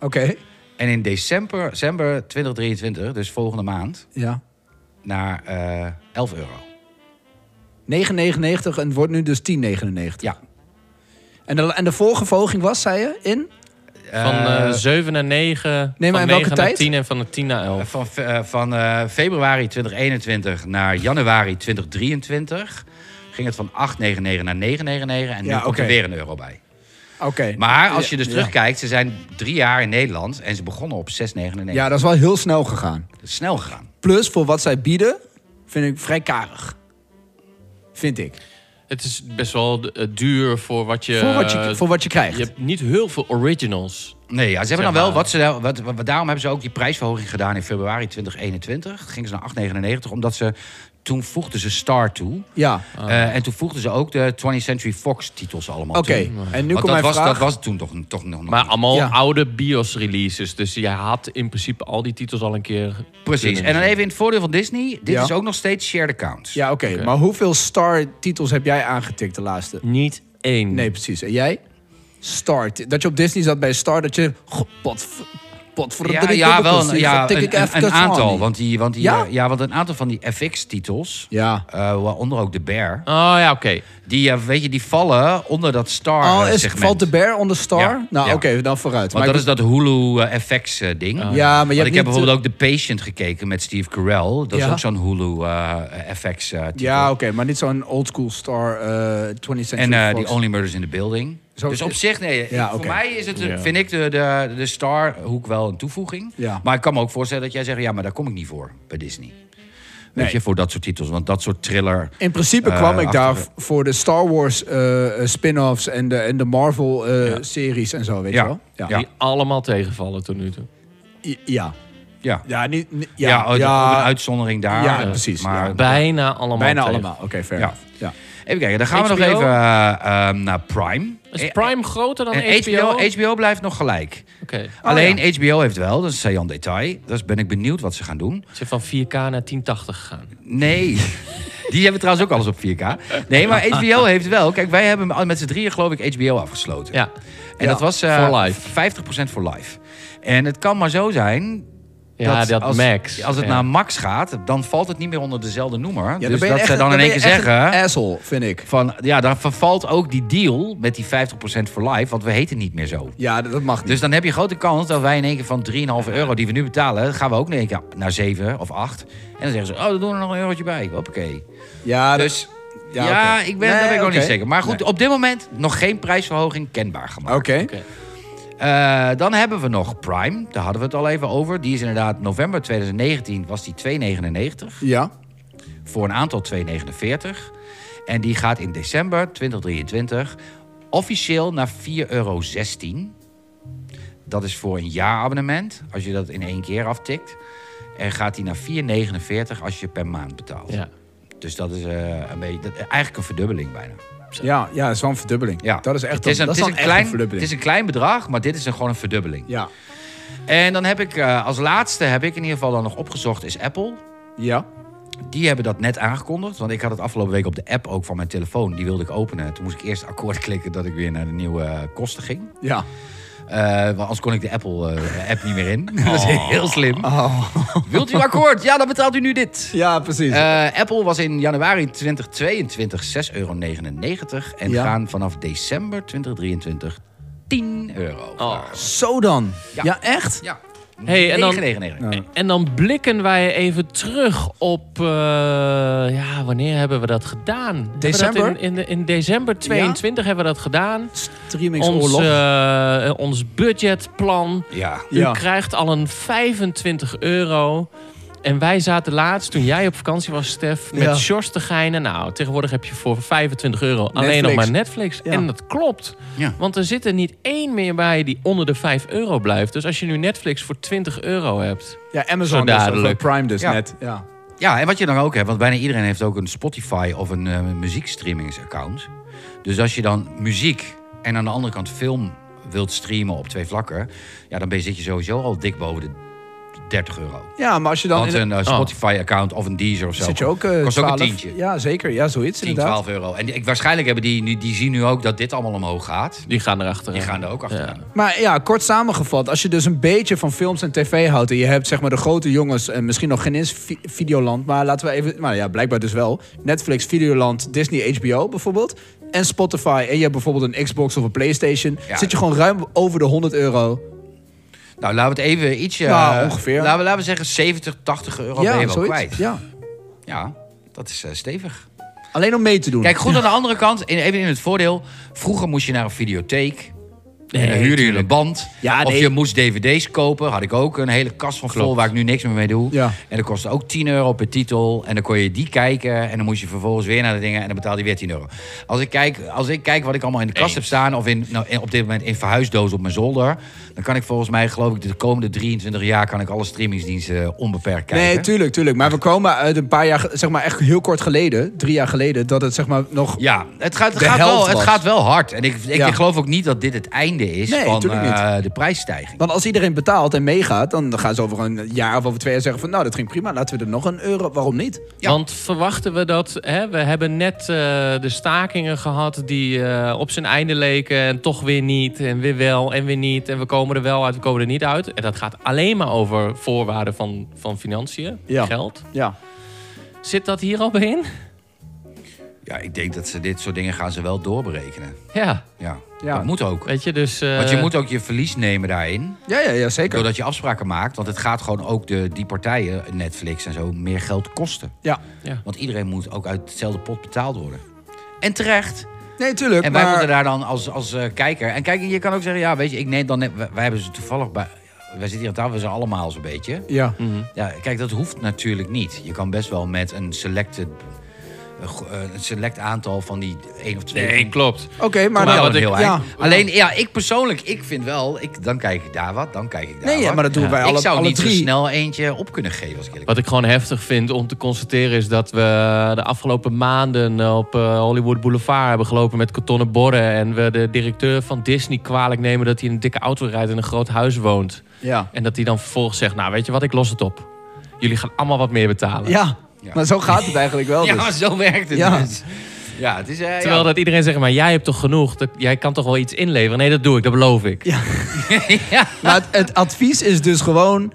Speaker 4: Oké.
Speaker 5: En in december, december 2023, dus volgende maand,
Speaker 4: Ja.
Speaker 5: naar eh 11 euro.
Speaker 4: 9,99 en het wordt nu dus 10,99.
Speaker 5: Ja.
Speaker 4: En de, en de vorige verhoging was, zei je, in?
Speaker 3: Van eh 7 naar 9,
Speaker 4: nee, maar
Speaker 3: van
Speaker 4: in welke
Speaker 3: 9 naar
Speaker 4: tijd?
Speaker 3: 10 en van de 10 naar 11.
Speaker 5: Van, fe- eh, van eh, februari 2021 naar januari 2023 ging het van 8,99 naar 9,99 en nu
Speaker 4: Ja,
Speaker 5: komt er
Speaker 4: oké.
Speaker 5: weer een euro bij.
Speaker 4: Oké.
Speaker 5: Maar als je
Speaker 4: Ja,
Speaker 5: dus terugkijkt, ze zijn drie jaar in Nederland en ze begonnen op 6,99.
Speaker 4: Ja. ja, dat is wel heel snel gegaan.
Speaker 5: Dat is snel gegaan.
Speaker 4: Plus, voor wat zij bieden, vind ik vrij karig. Vind ik.
Speaker 3: Het is best wel eh, duur voor wat je... eh,
Speaker 4: voor, wat je, voor wat Eh, je krijgt.
Speaker 3: Je hebt niet heel veel originals.
Speaker 5: Nee, ja, ze hebben
Speaker 3: Zeg
Speaker 5: dan wel
Speaker 3: maar.
Speaker 5: wat ze daar- wat, wat, daarom hebben ze ook die prijsverhoging gedaan in februari 2021. Dat Gingen ze naar 8,99 omdat ze toen voegden ze Star toe.
Speaker 4: Ja,
Speaker 5: Eh, en toen voegden ze ook de 20th Century Fox titels allemaal
Speaker 4: oké.
Speaker 5: toe.
Speaker 4: En nu
Speaker 5: Want
Speaker 4: komt
Speaker 5: dat
Speaker 4: mijn
Speaker 5: was,
Speaker 4: vraag.
Speaker 5: dat was toen toch, toch nog
Speaker 3: Maar
Speaker 5: niet.
Speaker 3: allemaal
Speaker 4: Ja.
Speaker 3: oude BIOS-releases. Dus je had in principe al die titels al een keer...
Speaker 5: Precies.
Speaker 3: kunnen
Speaker 5: En dan
Speaker 3: zien.
Speaker 5: even in het voordeel van Disney. Dit
Speaker 4: Ja.
Speaker 5: is ook nog steeds shared accounts.
Speaker 4: Ja, oké.
Speaker 3: Oké.
Speaker 4: Maar hoeveel star-titels heb jij aangetikt de laatste?
Speaker 3: Niet één.
Speaker 4: Nee, precies. En jij? Star. Dat je op Disney zat bij Star, dat je... God, pot,
Speaker 5: Ja, ja, wel een, ja, een, een- een aantal. Want, die, want, die,
Speaker 4: Ja?
Speaker 5: eh, ja, want een aantal van die FX-titels,
Speaker 4: Ja.
Speaker 5: eh, waaronder ook de Bear,
Speaker 3: Oh ja, oké.
Speaker 5: die, eh, weet je, die vallen onder dat Star
Speaker 4: Oh,
Speaker 5: eh,
Speaker 4: is,
Speaker 5: segment.
Speaker 4: valt de bear onder Star?
Speaker 5: Ja,
Speaker 4: Nou,
Speaker 5: ja.
Speaker 4: oké, dan vooruit.
Speaker 5: Want
Speaker 4: maar Ah.
Speaker 5: dat is dat eh, Hulu-FX-ding.
Speaker 4: maar je hebt
Speaker 5: Want ik
Speaker 4: niet, eh,
Speaker 5: heb bijvoorbeeld ook The Patient gekeken met Steve Carell. Dat
Speaker 4: Ja.
Speaker 5: is ook zo'n eh, Hulu-FX-titel.
Speaker 4: Ja, oké, maar niet zo'n oldschool Star eh 20th Century
Speaker 5: En eh,
Speaker 4: Fox.
Speaker 5: die Only Murders in the Building.
Speaker 4: Zo-
Speaker 5: dus op zich, nee,
Speaker 4: Ja,
Speaker 5: voor
Speaker 4: oké.
Speaker 5: mij is het, eh,
Speaker 3: Ja.
Speaker 5: vind ik de, de, de Starhoek wel een toevoeging.
Speaker 4: Ja.
Speaker 5: Maar ik kan me ook voorstellen dat jij zegt... ja, maar daar kom ik niet voor bij Disney. Weet
Speaker 4: Nee.
Speaker 5: je, voor dat soort titels. Want dat soort thriller...
Speaker 4: In principe
Speaker 5: eh,
Speaker 4: kwam ik daar
Speaker 5: achter-
Speaker 4: voor de Star Wars eh, eh, spin-offs en de, en de Marvel-series en zo, weet
Speaker 5: Ja.
Speaker 4: je wel? Ja.
Speaker 5: Ja.
Speaker 3: Die allemaal tegenvallen tot nu toe.
Speaker 4: I- Ja.
Speaker 5: Ja, ja,
Speaker 4: Ja, niet... niet-
Speaker 5: ja,
Speaker 4: ja,
Speaker 5: oh,
Speaker 4: ja,
Speaker 5: een uitzondering daar.
Speaker 4: Ja,
Speaker 5: eh,
Speaker 4: precies,
Speaker 5: Maar,
Speaker 4: ja.
Speaker 3: Bijna allemaal
Speaker 4: bijna
Speaker 3: tegen.
Speaker 4: allemaal. Oké, fair
Speaker 5: Ja.
Speaker 4: enough. ja.
Speaker 5: Even kijken, dan gaan we nog
Speaker 3: HBO?
Speaker 5: even eh, ehm, naar Prime.
Speaker 3: Is Prime groter dan
Speaker 5: Eh, eh,
Speaker 3: HBO?
Speaker 5: HBO, HBO blijft nog gelijk.
Speaker 3: Oké.
Speaker 5: Alleen HBO heeft wel, dat is een saillant detail. Dus ben ik benieuwd wat ze gaan doen.
Speaker 3: Ze zijn van 4K naar 1080 gegaan.
Speaker 5: Nee. Die hebben trouwens ook alles op 4K. Nee, maar HBO heeft wel. Kijk, wij hebben met z'n drieën geloof ik HBO afgesloten.
Speaker 3: Ja.
Speaker 5: En dat was eh,
Speaker 3: voor life.
Speaker 5: 50% voor live. En het kan maar zo zijn...
Speaker 3: Ja, dat,
Speaker 5: als,
Speaker 3: Max.
Speaker 5: Als het nou-
Speaker 3: ja.
Speaker 5: naar Max gaat, dan valt het niet meer onder dezelfde noemer.
Speaker 4: Ja,
Speaker 5: dus
Speaker 4: ben je
Speaker 5: dat
Speaker 4: echt
Speaker 5: ze
Speaker 4: een-
Speaker 5: dan in
Speaker 4: ben
Speaker 5: één
Speaker 4: je
Speaker 5: keer
Speaker 4: echt eh,
Speaker 5: zeggen...
Speaker 4: Een asshole, vind ik.
Speaker 5: Van, ja, dan vervalt ook die deal met die 50% voor live, want we heten niet meer zo.
Speaker 4: Ja, dat, dat mag niet.
Speaker 5: Dus dan heb je grote kans dat wij in één keer van 3,5 euro die we nu betalen, gaan we ook in één keer naar 7 of 8. En dan zeggen ze, oh, dan doen we er nog een eurotje bij. Hoppakee.
Speaker 4: ja, dat-
Speaker 5: Dus ja,
Speaker 4: oké.
Speaker 5: ik ben,
Speaker 4: Nee,
Speaker 5: daar ben ik ook
Speaker 4: oké.
Speaker 5: niet zeker. Maar goed,
Speaker 4: Nee. Oh.
Speaker 5: op dit moment nog geen prijsverhoging kenbaar gemaakt.
Speaker 4: Oké.
Speaker 3: Oké.
Speaker 5: Eh, dan hebben we nog Prime. Daar hadden we het al even over. Die is inderdaad november 2019 was die 2,99.
Speaker 4: Ja.
Speaker 5: Voor een aantal 2,49. En die gaat in december 2023 officieel naar 4,16 euro. Dat is voor een jaarabonnement. Als je dat in één keer aftikt. En gaat die naar 4,49 als je per maand betaalt.
Speaker 3: Ja.
Speaker 5: Dus dat is eh, een beetje, dat- eigenlijk een verdubbeling bijna.
Speaker 4: Ja, ja, dat is wel een verdubbeling.
Speaker 5: Ja.
Speaker 4: Dat is echt
Speaker 5: het is een,
Speaker 4: dat
Speaker 5: het is
Speaker 4: dan
Speaker 5: een
Speaker 4: echt
Speaker 5: klein,
Speaker 4: verdubbeling.
Speaker 5: Het is een klein bedrag, maar dit is een, gewoon een verdubbeling.
Speaker 4: Ja.
Speaker 5: En dan heb ik eh, als laatste, heb ik in ieder geval dan nog opgezocht, is Apple.
Speaker 4: Ja.
Speaker 5: Die hebben dat net aangekondigd. Want ik had het afgelopen week op de app ook van mijn telefoon. Die wilde ik openen. Toen moest ik eerst akkoord klikken dat ik weer naar de nieuwe eh, kosten ging.
Speaker 4: Ja.
Speaker 5: Eh, want anders kon ik de Apple-app niet meer in. dat is
Speaker 4: Oh.
Speaker 5: heel slim. Wilt u akkoord? Ja, dan betaalt u nu dit.
Speaker 4: Ja, precies.
Speaker 5: Eh, Apple was in januari 2022 6,99 euro. En
Speaker 4: Ja.
Speaker 5: gaan vanaf december 2023 10 euro.
Speaker 4: Oh.
Speaker 5: vragen.
Speaker 4: Zo dan.
Speaker 5: Ja.
Speaker 4: Ja, echt?
Speaker 5: Ja.
Speaker 3: Hey, en dan-
Speaker 5: 9,99.
Speaker 3: En dan blikken wij even terug op... eh, ja, wanneer hebben we dat gedaan? Hebben we dat
Speaker 4: December?
Speaker 3: in, in, de- in december 22 hebben we dat gedaan. Ons,
Speaker 4: Streamingsoorlog.
Speaker 3: eh, ons budgetplan.
Speaker 5: Ja.
Speaker 4: Ja.
Speaker 3: U krijgt al een 25 euro. En wij zaten laatst, toen jij op vakantie was, Stef, met
Speaker 4: Ja.
Speaker 3: Sjors te geinen. Nou, tegenwoordig heb je voor 25 euro alleen nog
Speaker 4: Netflix.
Speaker 3: maar Netflix.
Speaker 4: Ja.
Speaker 3: En dat klopt.
Speaker 5: Ja.
Speaker 3: Want er zit er niet één meer bij die onder de 5 euro blijft. Dus als je nu Netflix voor 20 euro hebt.
Speaker 4: Ja,
Speaker 3: Zo
Speaker 4: Amazon dus, of,
Speaker 3: dadelijk.
Speaker 4: eh, Prime dus
Speaker 5: Ja.
Speaker 4: net. Ja.
Speaker 5: ja, en wat je dan ook hebt, want bijna iedereen heeft ook een Spotify of een eh, muziekstreamingsaccount. Dus als je dan muziek en aan de andere kant film wilt streamen op twee vlakken, ja, dan ben je, zit je sowieso al dik boven de 30 euro.
Speaker 4: Ja, maar als je dan...
Speaker 5: Want
Speaker 4: Oh, in- oh.
Speaker 5: een eh, Spotify-account of een Deezer of zo.
Speaker 4: zit je ook, eh
Speaker 5: kost ook een
Speaker 4: 12
Speaker 5: tientje.
Speaker 4: Ja, zeker. Ja, zoiets
Speaker 5: 10,
Speaker 4: inderdaad.
Speaker 5: 12 euro. En die, ik, waarschijnlijk hebben die, nu- die zien nu ook dat dit allemaal omhoog gaat.
Speaker 3: Die gaan erachter.
Speaker 5: Die gaan er ook achteraan.
Speaker 4: Maar ja, kort samengevat, als je dus een beetje van films en tv houdt... en je hebt zeg maar de grote jongens en misschien nog geen eens vi- Videoland... maar laten we even... Maar ja, blijkbaar dus wel. Netflix, Videoland, Disney, HBO bijvoorbeeld. En Spotify. En je hebt bijvoorbeeld een Xbox of een Playstation.
Speaker 5: Ja. Oh,
Speaker 4: Zit je gewoon ruim over de 100 euro.
Speaker 5: Nou, laten we het even ietsje...
Speaker 4: Nou,
Speaker 5: eh,
Speaker 4: ongeveer.
Speaker 5: Laten we, laten we zeggen 70, 80 euro ben je
Speaker 4: ja,
Speaker 5: wel
Speaker 4: zoiets.
Speaker 5: kwijt.
Speaker 4: Ja.
Speaker 5: Ja, dat is eh, stevig.
Speaker 4: Alleen om mee te doen.
Speaker 5: Kijk, goed aan de andere kant, in- even in het voordeel. Vroeger moest je naar een videotheek. en dan huurde je een band.
Speaker 4: Ja,
Speaker 5: Of
Speaker 4: nee.
Speaker 5: je moest dvd's kopen. Had ik ook een hele kast van vol
Speaker 3: Klopt.
Speaker 5: waar ik nu niks meer mee doe.
Speaker 4: Ja.
Speaker 5: En dat kostte ook 10 euro per titel. En dan kon je die kijken. En dan moest je vervolgens weer naar de dingen. En dan betaalde je weer 10 euro. Als ik kijk, als ik kijk wat ik allemaal in de kast heb staan. Of in, nou, in- op dit moment in verhuisdoos op mijn zolder. Dan kan ik volgens mij, geloof ik, de komende 23 jaar... kan ik alle streamingsdiensten eh, onbeperkt kijken.
Speaker 4: Nee, tuurlijk, tuurlijk. Maar we komen uit een paar jaar, ge- zeg maar echt heel kort geleden, drie jaar geleden, dat het zeg maar nog.
Speaker 5: Ja, het gaat, het
Speaker 4: De
Speaker 5: gaat,
Speaker 4: helft
Speaker 5: wel, het
Speaker 4: was.
Speaker 5: gaat wel hard. En ik, ik,
Speaker 4: Ja.
Speaker 5: ik geloof ook niet dat dit het einde is
Speaker 4: Nee,
Speaker 5: van
Speaker 4: tuurlijk
Speaker 5: eh, de prijsstijging.
Speaker 4: Want als iedereen betaalt en meegaat, dan gaan ze over een jaar of over twee jaar zeggen van, nou, dat ging prima, laten we er nog een euro, waarom niet?
Speaker 5: Ja.
Speaker 3: Want verwachten we dat... Hè, we hebben net eh, de stakingen gehad die eh, op zijn einde leken... en toch weer niet, en weer wel, en weer niet... en we komen er wel uit, we komen er niet uit. En dat gaat alleen maar over voorwaarden van, van financiën,
Speaker 4: Ja.
Speaker 3: geld.
Speaker 4: Ja.
Speaker 3: Zit dat hier al bij in?
Speaker 5: Ja, ik denk dat ze dit soort dingen gaan ze wel doorberekenen.
Speaker 3: Ja,
Speaker 5: Ja,
Speaker 4: Ja.
Speaker 5: dat moet ook.
Speaker 3: weet je, dus... eh,
Speaker 5: Want je moet ook je verlies nemen daarin.
Speaker 4: Ja, ja, ja, zeker.
Speaker 5: Doordat je afspraken maakt. Want het gaat gewoon ook de, die partijen, Netflix en zo, meer geld kosten.
Speaker 4: Ja.
Speaker 3: Ja.
Speaker 5: Want iedereen moet ook uit hetzelfde pot betaald worden. En terecht.
Speaker 4: Nee, tuurlijk,
Speaker 5: En wij
Speaker 4: maar...
Speaker 5: moeten daar dan als, als eh, kijker... En kijk, je kan ook zeggen, ja, weet je, ik neem dan... Net, wij, wij hebben ze toevallig bij... Wij zitten hier aan tafel, we zijn allemaal zo'n beetje.
Speaker 4: Ja.
Speaker 5: Ja, kijk, dat hoeft natuurlijk niet. Je kan best wel met een, selecte, een go- eh, een select aantal van die één of twee.
Speaker 3: Nee, klopt.
Speaker 4: Oké, maar...
Speaker 5: Maar
Speaker 3: Maar
Speaker 5: wel
Speaker 3: wat
Speaker 5: een
Speaker 3: ik-
Speaker 5: heel
Speaker 4: ja.
Speaker 5: eind. Alleen, ja, ik persoonlijk, ik vind wel... Ik, dan kijk ik daar wat, dan kijk ik daar
Speaker 4: Nee, ja,
Speaker 5: wat.
Speaker 4: maar dat doen wij alle,
Speaker 5: ik zou
Speaker 4: alle
Speaker 5: niet
Speaker 4: drie.
Speaker 5: zo snel eentje op kunnen geven, als ik eerlijk
Speaker 3: Wat ik gewoon heftig vind om te constateren is dat we de afgelopen maanden op eh, Hollywood Boulevard hebben gelopen met kartonnen borden. En we de directeur van Disney kwalijk nemen dat hij in een dikke auto rijdt en een groot huis woont.
Speaker 4: Ja.
Speaker 3: En dat hij dan vervolgens zegt, nou weet je wat, ik los het op. Jullie gaan allemaal wat meer betalen.
Speaker 4: ja.
Speaker 5: Ja.
Speaker 4: Maar zo gaat het eigenlijk wel.
Speaker 5: ben.
Speaker 4: dus.
Speaker 5: Ja, maar zo werkt het
Speaker 4: Ja.
Speaker 5: dus. Ja, het is... eh,
Speaker 3: Terwijl
Speaker 5: ja.
Speaker 3: dat iedereen zegt, maar jij hebt toch genoeg, dat, jij kan toch wel iets inleveren? Nee, dat doe ik, dat beloof ik.
Speaker 4: Ja.
Speaker 5: ja.
Speaker 4: Maar het, het advies is dus gewoon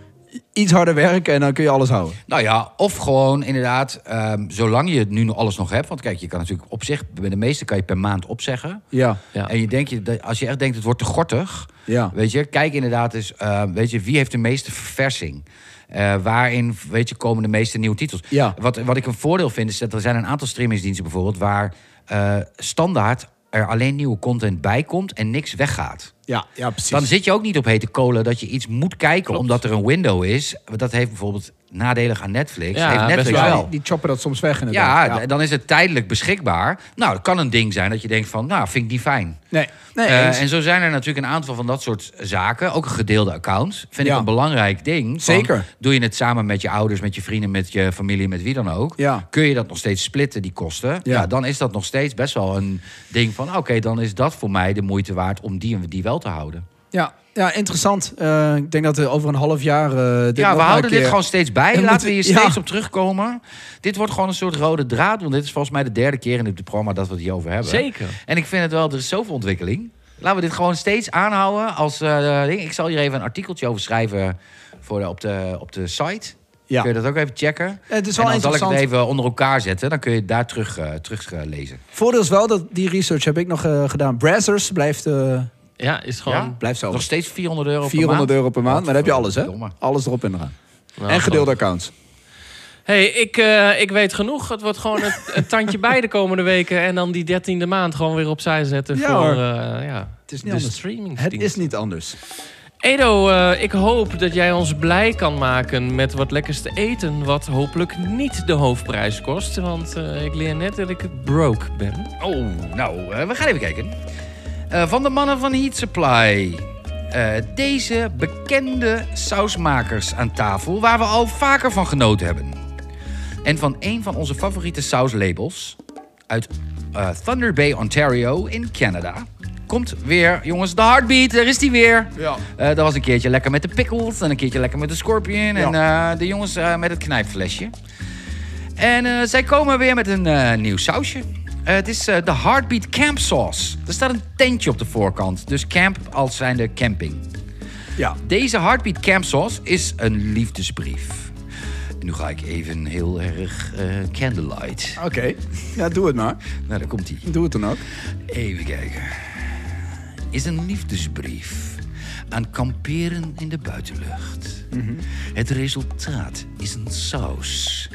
Speaker 4: iets harder werken en dan kun je alles houden.
Speaker 5: Nou ja, of gewoon inderdaad, ehm, zolang je het nu nog alles nog hebt... Want kijk, je kan natuurlijk op zich... Bij de meeste kan je per maand opzeggen.
Speaker 4: Ja.
Speaker 3: Ja.
Speaker 5: En je denkt, je dat- als je echt denkt, het wordt te gortig...
Speaker 4: Ja.
Speaker 5: Weet je, kijk inderdaad eens, eh, weet je, wie heeft de meeste verversing? Eh, waarin, weet je, komen de meeste nieuwe titels?
Speaker 4: Ja.
Speaker 5: Wat, wat ik een voordeel vind, is dat er zijn een aantal streamingsdiensten bijvoorbeeld... waar eh, standaard er alleen nieuwe content bij komt en niks weggaat.
Speaker 4: Ja, ja precies.
Speaker 5: Dan zit je ook niet op hete kolen dat je iets moet kijken omdat er een window is. Want Dat heeft bijvoorbeeld nadelig aan Netflix.
Speaker 3: Ja,
Speaker 5: heeft
Speaker 3: best
Speaker 5: Netflix
Speaker 4: ja,
Speaker 3: wel.
Speaker 5: wel.
Speaker 4: Die, die choppen dat soms weg
Speaker 5: Ja,
Speaker 4: inderdaad.
Speaker 5: d- dan is het tijdelijk beschikbaar. Nou, het kan een ding zijn dat je denkt van, nou, vind ik niet fijn.
Speaker 4: Nee, nee
Speaker 5: Eh,
Speaker 4: eens.
Speaker 5: en zo zijn er natuurlijk een aantal van dat soort zaken. Ook een gedeelde account. Vind
Speaker 4: Ja.
Speaker 5: ik een belangrijk ding. Van,
Speaker 4: Zeker.
Speaker 5: Doe je het samen met je ouders, met je vrienden, met je familie, met wie dan ook.
Speaker 4: Ja.
Speaker 5: Kun je dat nog steeds splitten, die kosten? Ja. dan is dat nog steeds best wel een ding van... oké, dan is dat voor mij de moeite waard om die en die wel te houden.
Speaker 4: Ja, ja interessant. Eh, ik denk dat we over een half jaar. eh, dit
Speaker 5: ja,
Speaker 4: nog maar
Speaker 5: we houden
Speaker 4: een
Speaker 5: dit
Speaker 4: keer-
Speaker 5: gewoon steeds bij.
Speaker 4: En
Speaker 5: Laten
Speaker 4: moeten-
Speaker 5: we hier
Speaker 4: ja.
Speaker 5: steeds op terugkomen. Dit wordt gewoon een soort rode draad. Want dit is volgens mij de derde keer in dit programma dat we het hierover hebben.
Speaker 3: Zeker.
Speaker 5: En ik vind het wel, er is zoveel ontwikkeling. Laten we dit gewoon steeds aanhouden als eh, ding. Ik zal hier even een artikeltje over schrijven voor de, op, de, op de site.
Speaker 4: Ja.
Speaker 5: Kun je dat ook even checken?
Speaker 4: Het is
Speaker 5: en
Speaker 4: wel
Speaker 5: dan zal ik het
Speaker 4: interessant.
Speaker 5: even onder elkaar zetten. Dan kun je het daar terug, eh, terug eh, lezen.
Speaker 4: Voordeel is wel dat die research heb ik nog eh, gedaan. Brazzers blijft, eh,
Speaker 3: Ja, is
Speaker 5: Ja?
Speaker 3: gewoon...
Speaker 4: blijft zo.
Speaker 5: Nog steeds 400 euro per
Speaker 4: 400
Speaker 5: maand.
Speaker 4: euro per maand. Maar dan heb je alles, hè?
Speaker 5: Godverdomme.
Speaker 4: Alles erop en eraan.
Speaker 3: Nou,
Speaker 4: en gedeelde
Speaker 3: gewoon-
Speaker 4: accounts.
Speaker 3: hey, ik, eh, ik weet genoeg. Het wordt gewoon een, een tandje bij de komende weken. En dan die dertiende maand gewoon weer opzij zetten
Speaker 4: Ja,
Speaker 3: voor
Speaker 4: hoor.
Speaker 3: eh, ja,
Speaker 4: Het is
Speaker 3: de
Speaker 4: niet anders. Het
Speaker 3: streamingsdienst.
Speaker 4: is niet anders.
Speaker 3: Edo, eh, ik hoop dat jij ons blij kan maken met wat lekkers te eten... wat hopelijk niet de hoofdprijs kost. Want eh, ik leer net dat ik broke ben.
Speaker 5: Oh, nou, eh, we gaan even kijken. Eh, van de mannen van Heat Supply. Eh, deze bekende sausmakers aan tafel, waar we al vaker van genoten hebben. En van een van onze favoriete sauslabels uit eh, Thunder Bay, Ontario in Canada komt weer, jongens, de heartbeat. Daar is die weer.
Speaker 6: Ja.
Speaker 5: Eh, dat was een keertje lekker met de pickles. En een keertje lekker met de scorpion. En eh, de jongens eh, met het knijpflesje. En eh, zij komen weer met een eh, nieuw sausje. Eh, het is eh, de Heartbeat Camp Sauce. Er staat een tentje op de voorkant. Dus camp als zijnde camping.
Speaker 4: Ja.
Speaker 5: Deze Heartbeat Camp Sauce is een liefdesbrief. En nu ga ik even heel erg eh, candlelight.
Speaker 4: Oké. Ja, doe het maar.
Speaker 5: Nou, daar komt hij.
Speaker 4: Doe het dan ook.
Speaker 5: Even kijken. Is een liefdesbrief aan kamperen in de buitenlucht. Het resultaat is een saus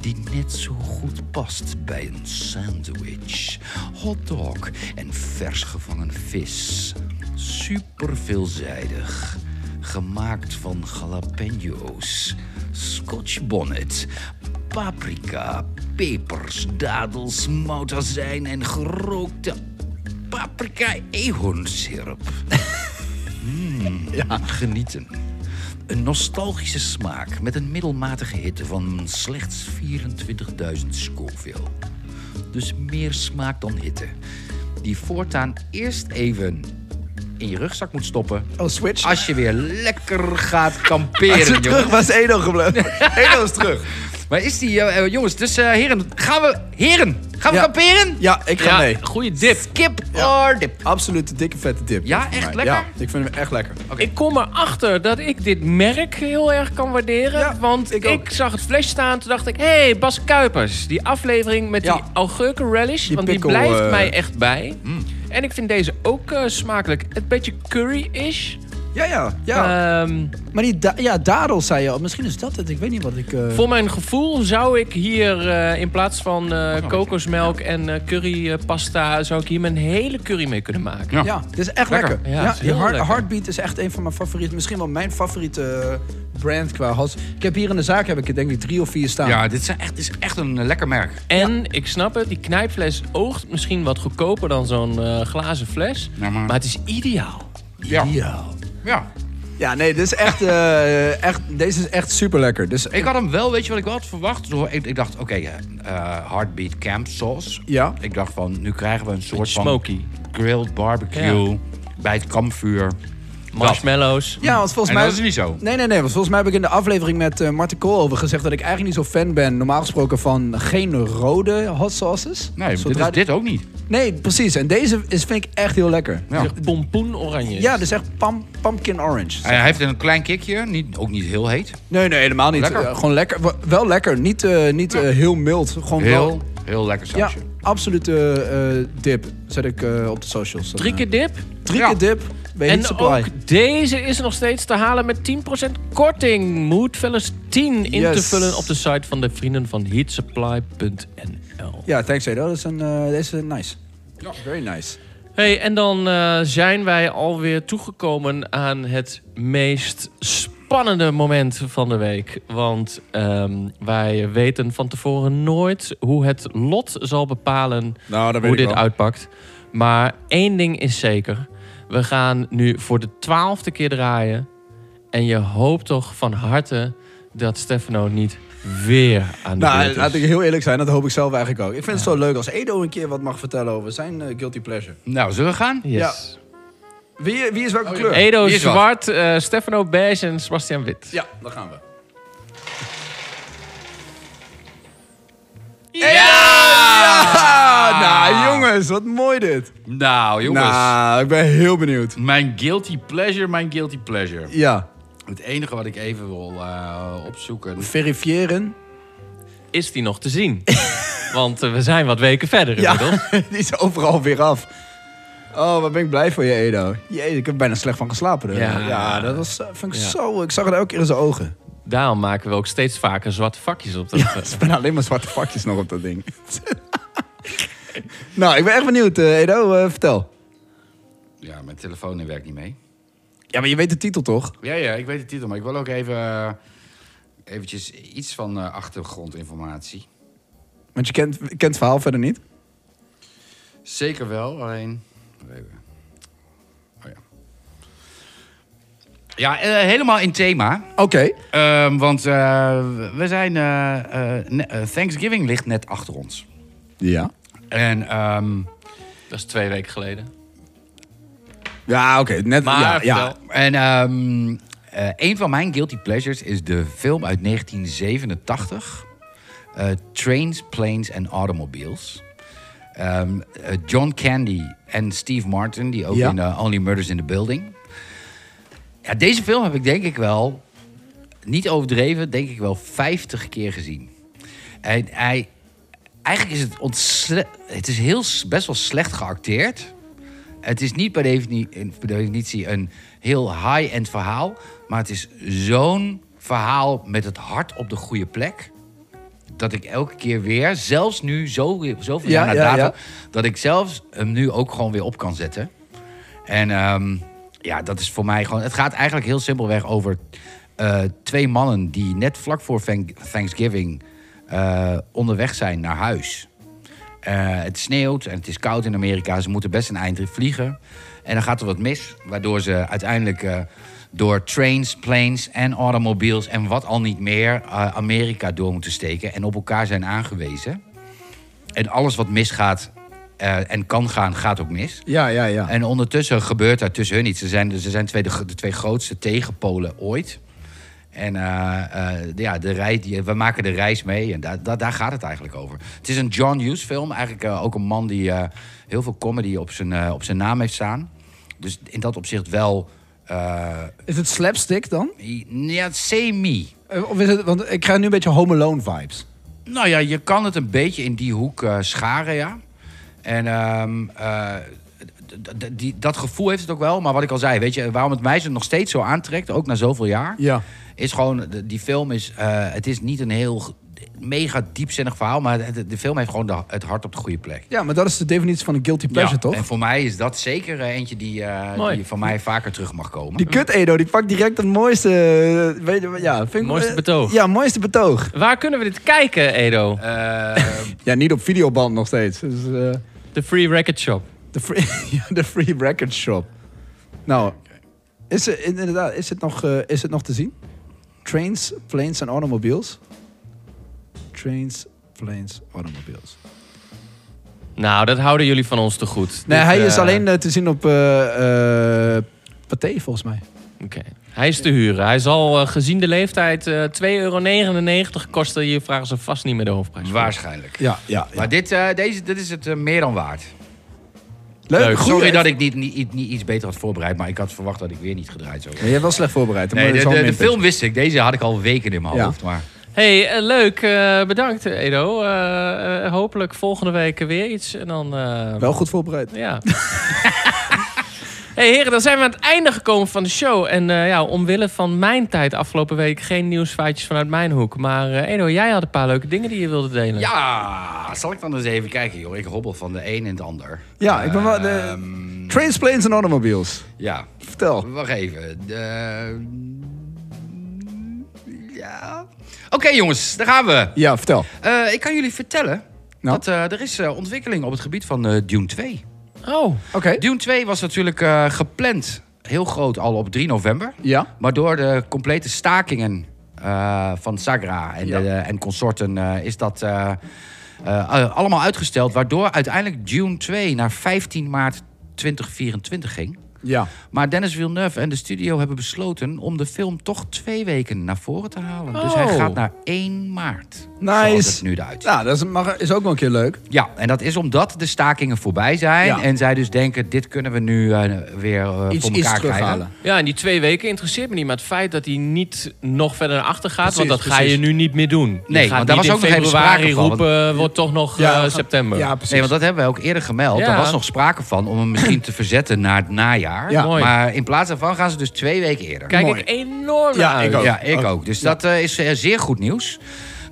Speaker 5: die net zo goed past bij een sandwich, hotdog en vers gevangen vis. Super veelzijdig. Gemaakt van jalapeno's, scotch bonnet, paprika, pepers, dadels, moutazijn en gerookte paprika eekhoornsirup. Mm, Genieten. Een nostalgische smaak met een middelmatige hitte van slechts 24.000 Scoville. Dus meer smaak dan hitte. Die voortaan eerst even in je rugzak moet stoppen.
Speaker 4: Oh, switch.
Speaker 5: Als je weer lekker gaat
Speaker 4: Als
Speaker 5: kamperen,
Speaker 4: het
Speaker 5: jongen.
Speaker 4: terug was Edo gebleven.
Speaker 1: Edo is terug.
Speaker 5: Maar is die, eh, eh, jongens, dus eh, heren, gaan we, heren, gaan we
Speaker 4: Ja.
Speaker 5: kamperen?
Speaker 4: Ja, ik ga
Speaker 3: Ja,
Speaker 4: mee.
Speaker 3: goede dip.
Speaker 5: Skip or dip.
Speaker 4: Absoluut een dikke vette dip.
Speaker 5: Ja,
Speaker 4: Voor
Speaker 5: echt
Speaker 4: mij.
Speaker 5: lekker?
Speaker 4: Ja, ik vind hem echt lekker.
Speaker 3: Ik kom erachter dat ik dit merk heel erg kan waarderen.
Speaker 4: Ja,
Speaker 3: want ik,
Speaker 4: ik ook.
Speaker 3: zag het flesje staan. Toen dacht ik, hé, hey, Bas Kuipers. Die aflevering met
Speaker 4: Ja.
Speaker 3: die augurken relish.
Speaker 4: Die
Speaker 3: want
Speaker 4: pickle,
Speaker 3: die blijft
Speaker 4: eh, mm.
Speaker 3: mij echt bij. En ik vind deze ook eh, smakelijk. Een beetje curry-ish.
Speaker 4: Ja, ja, ja.
Speaker 3: Ehm,
Speaker 4: maar die da- ja, dadel zei je al. Misschien is dat het. Ik weet niet wat ik... eh,
Speaker 3: voor mijn gevoel zou ik hier eh, in plaats van eh, kokosmelk en eh, currypasta... zou ik hier mijn hele curry mee kunnen maken.
Speaker 5: Ja.
Speaker 4: Ja, het is echt
Speaker 5: Lekker.
Speaker 4: lekker.
Speaker 3: Ja,
Speaker 4: Ja,
Speaker 3: het is
Speaker 4: die
Speaker 3: heel
Speaker 4: Heart-
Speaker 3: lekker.
Speaker 4: Heartbeat is echt een van mijn favorieten. Misschien wel mijn favoriete eh, brand qua has. Ik heb hier in de zaak heb ik er denk ik drie of vier staan.
Speaker 5: Ja, dit zijn echt, is echt een eh, lekker merk.
Speaker 3: En ik snap het, die knijpfles oogt misschien wat goedkoper dan zo'n eh, glazen fles.
Speaker 5: Ja, maar-
Speaker 3: maar... het is ideaal.
Speaker 5: Ja.
Speaker 4: Ja.
Speaker 5: ja.
Speaker 4: Ja, nee, dit is echt, eh, echt, deze is echt super lekker. Dus
Speaker 5: Ik had hem wel, weet je wat ik wel had verwacht? Zo, Ik, ik dacht, oké, eh, eh, Heartbeat Camp Sauce.
Speaker 4: ja,
Speaker 5: Ik dacht van, nu krijgen we een soort van
Speaker 3: Smoky.
Speaker 5: grilled barbecue bij het kampvuur.
Speaker 3: Marshmallows.
Speaker 4: ja want volgens
Speaker 5: en
Speaker 4: mij...
Speaker 5: dat is niet zo.
Speaker 4: Nee, nee, nee. Want volgens mij heb ik in de aflevering met eh Marten Kool over gezegd... dat ik eigenlijk niet zo fan ben, normaal gesproken, van geen rode hot sauces.
Speaker 5: Nee, dit
Speaker 4: Zodra
Speaker 5: is dit ook niet.
Speaker 4: Nee, precies. En deze is, vind ik echt heel lekker.
Speaker 5: Ja.
Speaker 3: Zeg, Pompoen oranje.
Speaker 4: Ja, dit is echt pam- pumpkin orange.
Speaker 5: Hij heeft een klein kikje, niet, ook niet heel heet.
Speaker 4: Nee, nee, helemaal niet.
Speaker 5: Lekker.
Speaker 4: Eh, gewoon lekker. Wa- Wel lekker. Niet, eh, niet eh, heel mild. Gewoon
Speaker 5: Heel,
Speaker 4: wel-
Speaker 5: heel lekker
Speaker 4: Ja,
Speaker 5: sausje.
Speaker 4: absolute eh, dip. Zet ik eh, op de socials. Dan,
Speaker 3: Drie
Speaker 4: eh,
Speaker 3: keer dip.
Speaker 4: drie
Speaker 5: Ja.
Speaker 4: keer dip. Bij Heat
Speaker 3: En
Speaker 4: Supply.
Speaker 3: ook deze is nog steeds te halen met 10% korting. Moodfellas 10 in
Speaker 4: Yes.
Speaker 3: te vullen op de site van de vrienden van heatsupply.nl.
Speaker 4: Ja, thanks Edo. Dat is een, eh, deze is nice. Ja. Very nice.
Speaker 3: Hey, en dan eh, zijn wij alweer toegekomen aan het meest spannende moment van de week. Want ehm, wij weten van tevoren nooit hoe het lot zal bepalen
Speaker 4: Nou, dat
Speaker 3: hoe dit uitpakt. Maar één ding is zeker. We gaan nu voor de twaalfde keer draaien. En je hoopt toch van harte dat Stefano niet weer aan de beurt
Speaker 4: Nou,
Speaker 3: is.
Speaker 4: laat ik heel eerlijk zijn. Dat hoop ik zelf eigenlijk ook. Ik vind het zo leuk als Edo een keer wat mag vertellen over zijn eh, guilty pleasure.
Speaker 5: Nou, zullen we gaan?
Speaker 3: Yes.
Speaker 4: Wie, wie is welke kleur?
Speaker 3: Edo
Speaker 5: Hier is wat.
Speaker 3: Zwart, eh, Stefano Beige en Sebastian Wit.
Speaker 4: Ja, daar gaan we. Ja! Nou, jongens, wat mooi dit.
Speaker 5: Nou, jongens.
Speaker 4: Nou, ik ben heel benieuwd.
Speaker 5: Mijn guilty pleasure, mijn guilty pleasure.
Speaker 4: Ja,
Speaker 5: Het enige wat ik even wil eh, opzoeken.
Speaker 4: verifiëren.
Speaker 3: Is die nog te zien? Want eh, we zijn wat weken verder inmiddels.
Speaker 4: Ja, die is overal weer af. Oh, wat ben ik blij voor je, Edo. Jee, ik heb er bijna slecht van geslapen. dus. hè.
Speaker 3: Ja.
Speaker 4: dat was, eh, vind ik
Speaker 3: Ja.
Speaker 4: zo... Ik zag het elke keer in zijn ogen.
Speaker 3: Daarom maken we ook steeds vaker zwarte vakjes op. Dat, eh,
Speaker 4: Ja, er zijn alleen maar zwarte vakjes nog op dat ding. nou, ik ben echt benieuwd, eh, Edo. eh, vertel.
Speaker 5: Ja, mijn telefoon die werkt niet mee.
Speaker 4: Ja, maar je weet de titel toch?
Speaker 5: Ja, ja, ik weet de titel, maar ik wil ook even eh, eventjes iets van eh, achtergrondinformatie.
Speaker 4: Want je kent, kent het verhaal verder niet.
Speaker 5: Zeker wel, alleen. Wacht even. Oh ja. Ja, eh, helemaal in thema.
Speaker 4: Oké.
Speaker 5: Ehm, want eh, we zijn. eh, eh, ne- eh, Thanksgiving ligt net achter ons.
Speaker 4: Ja.
Speaker 5: En ehm,
Speaker 3: dat is twee weken geleden.
Speaker 4: Ja, oké. net
Speaker 3: Maar
Speaker 4: ja, ja.
Speaker 3: vertel.
Speaker 5: En ehm, eh, een van mijn guilty pleasures is de film uit 1987. eh, Trains, Planes and Automobiles. Ehm, eh, John Candy en Steve Martin, die ook
Speaker 4: Ja.
Speaker 5: in eh, Only Murders in the Building. Ja, deze film heb ik denk ik wel, niet overdreven, denk ik wel 50 keer gezien. En hij, eigenlijk is het ontsle- Het is heel, s- best wel slecht geacteerd. Het is niet per defini- in- per definitie een heel high-end verhaal. Maar het is zo'n verhaal met het hart op de goede plek. Dat ik elke keer weer, zelfs nu, zo, zoveel
Speaker 4: Ja,
Speaker 5: jaar na
Speaker 4: ja,
Speaker 5: dato...
Speaker 4: ja.
Speaker 5: dat ik zelfs hem nu ook gewoon weer op kan zetten. En ehm, ja, dat is voor mij gewoon... Het gaat eigenlijk heel simpelweg over eh, twee mannen... die net vlak voor Thank- Thanksgiving eh, onderweg zijn naar huis. Eh, het sneeuwt en het is koud in Amerika. Ze moeten best een eind vliegen. En dan gaat er wat mis, waardoor ze uiteindelijk eh, door trains, planes en automobiles en wat al niet meer eh, Amerika door moeten steken en op elkaar zijn aangewezen. En alles wat misgaat eh, en kan gaan, gaat ook mis.
Speaker 4: Ja, ja, ja.
Speaker 5: En ondertussen gebeurt daar tussen hun iets. Ze zijn, ze zijn twee, de, de twee grootste tegenpolen ooit. En eh, eh, ja, de rij, die, we maken de reis mee. En daar, daar, daar gaat het eigenlijk over. Het is een John Hughes film. Eigenlijk eh, ook een man die eh, heel veel comedy op zijn, eh, op zijn naam heeft staan. Dus in dat opzicht wel... eh,
Speaker 4: Is het slapstick dan?
Speaker 5: ja, semi.
Speaker 4: Eh, Of is het, want ik krijg nu een beetje Home Alone vibes.
Speaker 5: Nou ja, je kan het een beetje in die hoek eh, scharen, ja. En ehm, eh, d- d- die, dat gevoel heeft het ook wel. Maar wat ik al zei, weet je, waarom het mij zo nog steeds zo aantrekt, ook na zoveel jaar,
Speaker 4: Ja.
Speaker 5: is gewoon, de- die film is, eh, het is niet een heel g- mega diepzinnig verhaal, maar de, de film heeft gewoon de- het hart op de goede plek.
Speaker 4: Ja, maar dat is de definitie van een guilty pleasure, toch?
Speaker 5: En voor mij is dat zeker eh, eentje die, eh,
Speaker 3: Mooi.
Speaker 5: die van mij vaker terug mag komen.
Speaker 4: Die kut Edo, die pakt direct het mooiste... eh, Weet je, wat- ja, vind ik-
Speaker 3: Mooiste
Speaker 4: eh,
Speaker 3: betoog.
Speaker 4: Ja, mooiste betoog.
Speaker 3: Waar kunnen we dit kijken, Edo?
Speaker 5: Eh,
Speaker 4: Ja, niet op videoband nog steeds. Dus, eh,
Speaker 3: De Free Record Shop.
Speaker 4: de, free, ja, de free record shop. Nou, is, er- in- inderdaad, is, het nog, eh, is het nog te zien? Trains, planes en automobiles. Trains, planes, automobiles.
Speaker 3: Nou, dat houden jullie van ons te goed.
Speaker 4: Nee,
Speaker 3: Dit,
Speaker 4: hij is
Speaker 3: eh,
Speaker 4: alleen eh, te zien op eh eh Pathé, volgens mij.
Speaker 3: Oké. Hij is te huren. Hij zal eh, gezien de leeftijd eh 2,99 euro kosten. Hier vragen ze vast niet meer de hoofdprijs. voor.
Speaker 5: waarschijnlijk.
Speaker 4: Ja, ja.
Speaker 5: Maar dit, eh, deze, dit is het eh, meer dan waard.
Speaker 4: Leuk,
Speaker 3: Leuk.
Speaker 4: goeie.
Speaker 5: Sorry dat ik niet, niet, niet, niet iets beter had voorbereid, maar ik had verwacht dat ik weer niet gedraaid zou
Speaker 4: Ja,
Speaker 5: worden.
Speaker 4: je hebt wel slecht voorbereid. maar dat
Speaker 5: Nee, de,
Speaker 4: is wel
Speaker 5: de,
Speaker 4: een
Speaker 5: de
Speaker 4: minpunt.
Speaker 5: film wist ik. Deze had ik al weken in mijn
Speaker 4: Ja.
Speaker 5: hoofd. Maar
Speaker 3: hey, eh, leuk. eh, bedankt, Edo. Eh, eh, hopelijk volgende week weer iets. En dan... eh,
Speaker 4: Wel goed voorbereid.
Speaker 3: Ja. hey heren, dan zijn we aan het einde gekomen van de show. En eh, ja, omwille van mijn tijd afgelopen week geen nieuwsfeitjes vanuit mijn hoek. Maar eh, Edo, jij had een paar leuke dingen die je wilde delen.
Speaker 5: ja, zal ik dan eens even kijken, joh. Ik hobbel van de een in het ander.
Speaker 4: Ja, ik ben wel... De...
Speaker 5: Ehm,
Speaker 4: Trains, planes en automobiles.
Speaker 5: ja,
Speaker 4: Vertel.
Speaker 5: wacht even. De- ja. Oké, jongens, daar gaan we.
Speaker 4: Ja, vertel.
Speaker 5: Eh, ik kan jullie vertellen
Speaker 4: Nou.
Speaker 5: dat eh, er is eh, ontwikkeling op het gebied van eh, Dune 2.
Speaker 3: Oh,
Speaker 4: Oké.
Speaker 5: Dune 2 was natuurlijk eh, gepland heel groot al op 3 november.
Speaker 4: Ja.
Speaker 5: Maar door de complete stakingen eh, van Sagra en,
Speaker 4: Ja.
Speaker 5: de- en consorten eh, is dat eh, eh, eh, allemaal uitgesteld. Waardoor uiteindelijk June 2 naar 15 maart 2024 ging.
Speaker 4: Ja.
Speaker 5: Maar Dennis Villeneuve en de studio hebben besloten om de film toch twee weken naar voren te halen. Dus
Speaker 3: Oh.
Speaker 5: hij gaat naar 1 maart. Zoals
Speaker 4: Nice.
Speaker 5: het nu eruit ziet.
Speaker 4: Nou, dat is, mag, is ook wel een keer leuk.
Speaker 5: Ja, en dat is omdat de stakingen voorbij zijn.
Speaker 4: Ja.
Speaker 5: En zij dus denken, dit kunnen we nu eh, weer eh,
Speaker 4: Iets,
Speaker 5: voor
Speaker 4: iets
Speaker 5: elkaar krijgen.
Speaker 4: terughalen.
Speaker 3: ja, en die twee weken interesseert me niet. Maar het feit dat hij niet nog verder naar achter gaat, want
Speaker 4: Precies,
Speaker 3: dat ga je
Speaker 4: precies.
Speaker 3: nu niet meer doen.
Speaker 5: Nee,
Speaker 3: je gaat
Speaker 5: want daar
Speaker 3: niet
Speaker 5: was
Speaker 3: in
Speaker 5: ook nog even
Speaker 3: februari
Speaker 5: sprake van,
Speaker 3: roepen, wordt toch nog eh,
Speaker 4: we gaan-
Speaker 3: september.
Speaker 4: Ja, precies.
Speaker 5: Nee, want dat hebben we ook eerder gemeld.
Speaker 3: Ja.
Speaker 5: Er was nog sprake van om hem misschien te verzetten naar het najaar.
Speaker 4: Ja.
Speaker 3: Mooi.
Speaker 5: Maar in plaats daarvan gaan ze dus twee weken eerder.
Speaker 3: Kijk
Speaker 4: Mooi.
Speaker 3: ik enorm
Speaker 4: Ja,
Speaker 3: naar uit.
Speaker 4: ik ook.
Speaker 5: Ja, ik ook. Dus dat eh, is eh, zeer goed nieuws.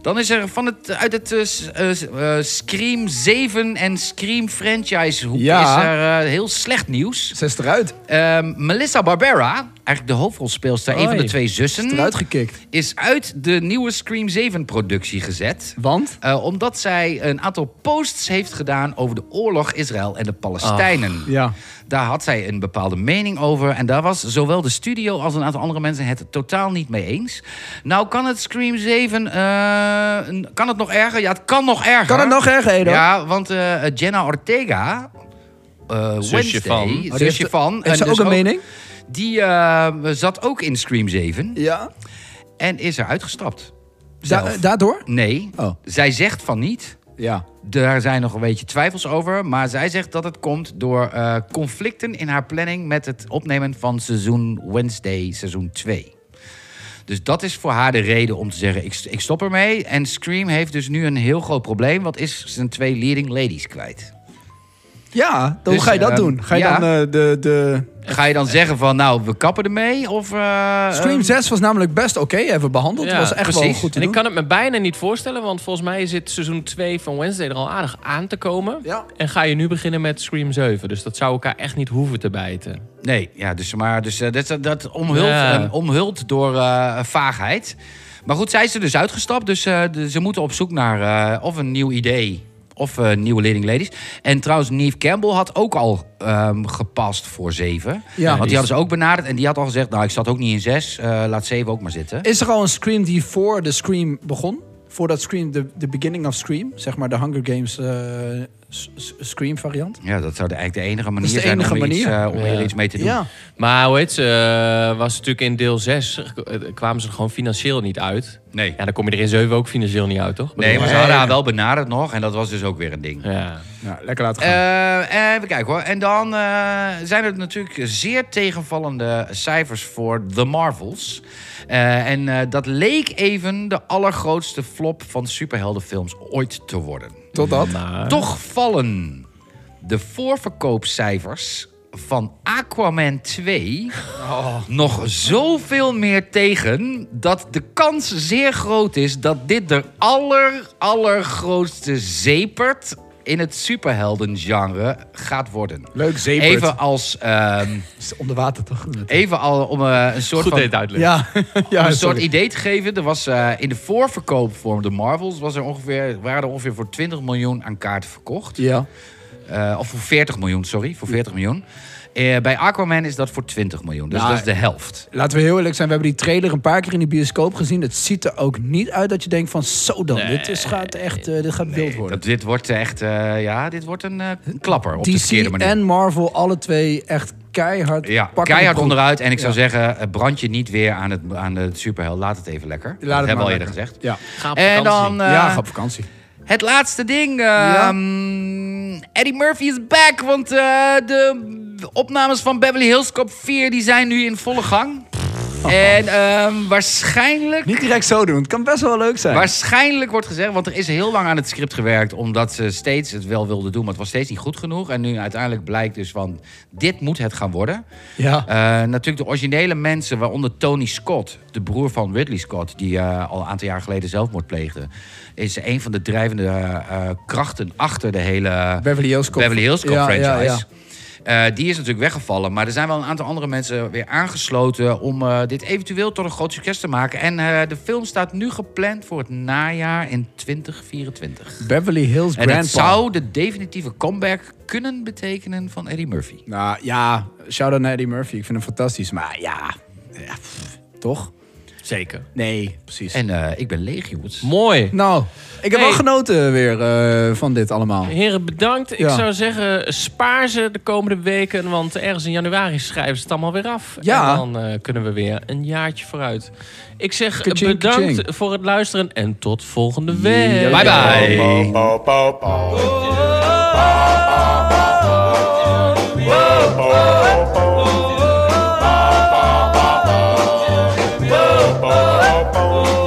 Speaker 5: Dan is er van het, uit het eh, s- eh, s- eh, Scream 7 en Scream franchise hoek
Speaker 4: Ja.
Speaker 5: is er eh, heel slecht nieuws.
Speaker 4: Ze is eruit.
Speaker 5: Ehm, Melissa Barbera, eigenlijk de hoofdrolspeelster, een van de
Speaker 3: Hoi.
Speaker 5: twee zussen,
Speaker 4: Eruit gekikt.
Speaker 5: is uit de nieuwe Scream 7 productie gezet.
Speaker 4: Want?
Speaker 5: Eh, omdat zij een aantal posts heeft gedaan over de oorlog Israël en de Palestijnen.
Speaker 4: Ja.
Speaker 5: Daar had zij een bepaalde mening over. En daar was zowel de studio als een aantal andere mensen het totaal niet mee eens. Nou, kan het Scream 7. eh, een- kan het nog erger? Ja, het kan nog erger.
Speaker 4: Kan het nog erger, Edo?
Speaker 5: Ja, want eh, Jenna Ortega. eh, eh,
Speaker 3: Zusje
Speaker 5: Wednesday,
Speaker 3: van. Oh, die
Speaker 5: zusje
Speaker 4: heeft-
Speaker 5: van.
Speaker 4: Heeft ze
Speaker 5: en
Speaker 4: ook
Speaker 5: dus
Speaker 4: een mening?
Speaker 5: Die eh, zat ook in Scream 7
Speaker 4: Ja.
Speaker 5: en is er uitgestapt.
Speaker 4: Da-
Speaker 5: Zelf.
Speaker 4: daardoor?
Speaker 5: Nee,
Speaker 4: Oh.
Speaker 5: zij zegt van niet.
Speaker 4: Ja.
Speaker 5: Daar zijn nog een beetje twijfels over. Maar zij zegt dat het komt door eh, conflicten in haar planning met het opnemen van seizoen Wednesday, seizoen 2. Dus dat is voor haar de reden om te zeggen: ik, ik stop ermee. En Scream heeft dus nu een heel groot probleem. Wat is zijn twee leading ladies kwijt?
Speaker 4: Ja, dan
Speaker 5: Dus,
Speaker 4: hoe ga je dat
Speaker 5: ehm,
Speaker 4: doen? Ga je
Speaker 5: ja.
Speaker 4: dan eh, de... de...
Speaker 5: Ga je dan zeggen van, nou, we kappen ermee? Of, eh,
Speaker 4: Scream
Speaker 5: eh,
Speaker 4: 6 was namelijk best oké, hebben we behandeld.
Speaker 3: Ja,
Speaker 4: was echt wel
Speaker 5: precies.
Speaker 4: goed te
Speaker 3: En ik
Speaker 4: doen.
Speaker 3: kan het me bijna niet voorstellen, want volgens mij zit seizoen 2 van Wednesday er al aardig aan te komen.
Speaker 4: Ja.
Speaker 3: En ga je nu beginnen met Scream 7. Dus dat zou elkaar echt niet hoeven te bijten.
Speaker 5: Nee, ja, dus, maar dus, eh, dat, dat omhult,
Speaker 3: Ja.
Speaker 5: eh, omhult door eh, vaagheid. Maar goed, zij is er dus uitgestapt. Dus eh, de- ze moeten op zoek naar eh, of een nieuw idee of eh, nieuwe leading ladies. En trouwens, Neve Campbell had ook al ehm, gepast voor zeven.
Speaker 4: Ja.
Speaker 5: want
Speaker 4: Die
Speaker 5: die hadden ze ook benaderd. En die had al gezegd, nou, ik zat ook niet in zes. eh, laat zeven ook maar zitten.
Speaker 4: Is er al een Scream die voor de Scream begon? Voordat Scream, de, de beginning of Scream, zeg maar de Hunger Games eh, s- s- Scream variant.
Speaker 5: Ja, dat zou de, eigenlijk de enige manier
Speaker 4: is de
Speaker 5: zijn om,
Speaker 4: enige
Speaker 5: er Iets,
Speaker 4: manier.
Speaker 5: eh, om er
Speaker 3: Ja.
Speaker 5: iets mee te doen.
Speaker 4: Ja.
Speaker 3: Maar hoe heet ze, eh, was natuurlijk in deel 6, kwamen ze er gewoon financieel niet uit.
Speaker 5: Nee.
Speaker 3: Ja, dan kom je er in 7 ook financieel niet uit, toch?
Speaker 5: Nee, maar ze hadden haar wel benaderd nog. En dat was dus ook weer een ding.
Speaker 3: Ja.
Speaker 4: Nou, lekker laten gaan.
Speaker 5: Eh, even kijken hoor. En dan eh, zijn er natuurlijk zeer tegenvallende cijfers voor The Marvels. Eh, en eh, dat leek even de allergrootste flop van superheldenfilms ooit te worden.
Speaker 4: Totdat.
Speaker 3: Maar...
Speaker 5: Toch vallen de voorverkoopcijfers van Aquaman 2
Speaker 4: Oh.
Speaker 5: nog zoveel meer tegen dat de kans zeer groot is dat dit de aller, allergrootste zepert in het superheldengenre gaat worden.
Speaker 4: Leuk zeepert.
Speaker 5: Even als, ehm,
Speaker 4: Is onder water toch?
Speaker 5: even al om eh, een soort
Speaker 3: Goed
Speaker 5: van
Speaker 3: deed het uitleggen.
Speaker 4: Ja.
Speaker 5: om
Speaker 4: ja
Speaker 5: een soort
Speaker 4: sorry.
Speaker 5: idee te geven. Er was eh, in de voorverkoop voor de Marvels was er ongeveer, waren er ongeveer voor 20 miljoen aan kaarten verkocht.
Speaker 4: Ja.
Speaker 5: Eh, of voor 40 miljoen, sorry. Voor 40 miljoen. Eh, bij Aquaman is dat voor 20 miljoen. Dus
Speaker 4: Nou,
Speaker 5: dat is de helft.
Speaker 4: Laten we heel eerlijk zijn, we hebben die trailer een paar keer in de bioscoop gezien. Het ziet er ook niet uit dat je denkt van zo dan, dit is, gaat echt eh, dit gaat wild worden.
Speaker 5: Dat, dit wordt echt, eh, ja, dit wordt een eh, een klapper op de
Speaker 4: DC
Speaker 5: verkeerde manier.
Speaker 4: en Marvel, alle twee echt keihard
Speaker 5: ja,
Speaker 4: pakken de
Speaker 5: keihard
Speaker 4: pro-
Speaker 5: onderuit. En ik zou
Speaker 4: Ja.
Speaker 5: zeggen, eh, brand je niet weer aan, het, aan de superheld. Laat het even lekker. dat
Speaker 4: Laat het
Speaker 5: hebben we al
Speaker 4: maar
Speaker 5: eerder
Speaker 4: lekker.
Speaker 5: gezegd.
Speaker 4: Ja,
Speaker 3: Ga op
Speaker 5: En
Speaker 3: vakantie.
Speaker 5: dan eh,
Speaker 4: ja ga op vakantie.
Speaker 5: het laatste ding. eh,
Speaker 4: Ja.
Speaker 5: mm, Eddie Murphy is back. Want eh, de opnames van Beverly Hills Cop 4 die zijn nu in volle gang. En ehm, waarschijnlijk
Speaker 4: Niet direct zo doen, het kan best wel leuk zijn.
Speaker 5: Waarschijnlijk wordt gezegd, want er is heel lang aan het script gewerkt... omdat ze steeds het wel wilden doen, maar het was steeds niet goed genoeg. En nu uiteindelijk blijkt dus van, dit moet het gaan worden.
Speaker 4: Ja.
Speaker 5: Eh, natuurlijk de originele mensen, waaronder Tony Scott... de broer van Ridley Scott, die eh, al een aantal jaar geleden zelfmoord pleegde... is een van de drijvende eh, eh, krachten achter de hele...
Speaker 4: Beverly Hills Cop.
Speaker 5: Beverly Hills Cop
Speaker 4: Ja,
Speaker 5: franchise.
Speaker 4: ja, ja.
Speaker 5: Eh, die is natuurlijk weggevallen. Maar er zijn wel een aantal andere mensen weer aangesloten... om eh, dit eventueel tot een groot succes te maken. En eh, de film staat nu gepland voor het najaar in 2024.
Speaker 4: Beverly Hills
Speaker 5: En dat
Speaker 4: Grandpa.
Speaker 5: zou de definitieve comeback kunnen betekenen van Eddie Murphy.
Speaker 4: Nou ja, shout-out naar Eddie Murphy. Ik vind hem fantastisch. Maar ja, ja, pff, toch?
Speaker 3: Zeker.
Speaker 4: Nee, precies.
Speaker 5: En eh, ik ben leeg, jongens.
Speaker 3: Mooi.
Speaker 4: Nou, ik heb
Speaker 3: Hey.
Speaker 4: wel genoten weer eh, van dit allemaal.
Speaker 3: Heren, bedankt. Ik
Speaker 4: Ja.
Speaker 3: zou zeggen, spaar ze de komende weken. Want ergens in januari schrijven ze het allemaal weer af.
Speaker 4: Ja.
Speaker 3: En dan eh, kunnen we weer een jaartje vooruit. Ik zeg
Speaker 4: Ka-ching,
Speaker 3: bedankt
Speaker 4: ka-ching.
Speaker 3: voor het luisteren. En tot volgende week.
Speaker 5: Bye bye.
Speaker 2: bow, bow, bow. Bow, bow, bow.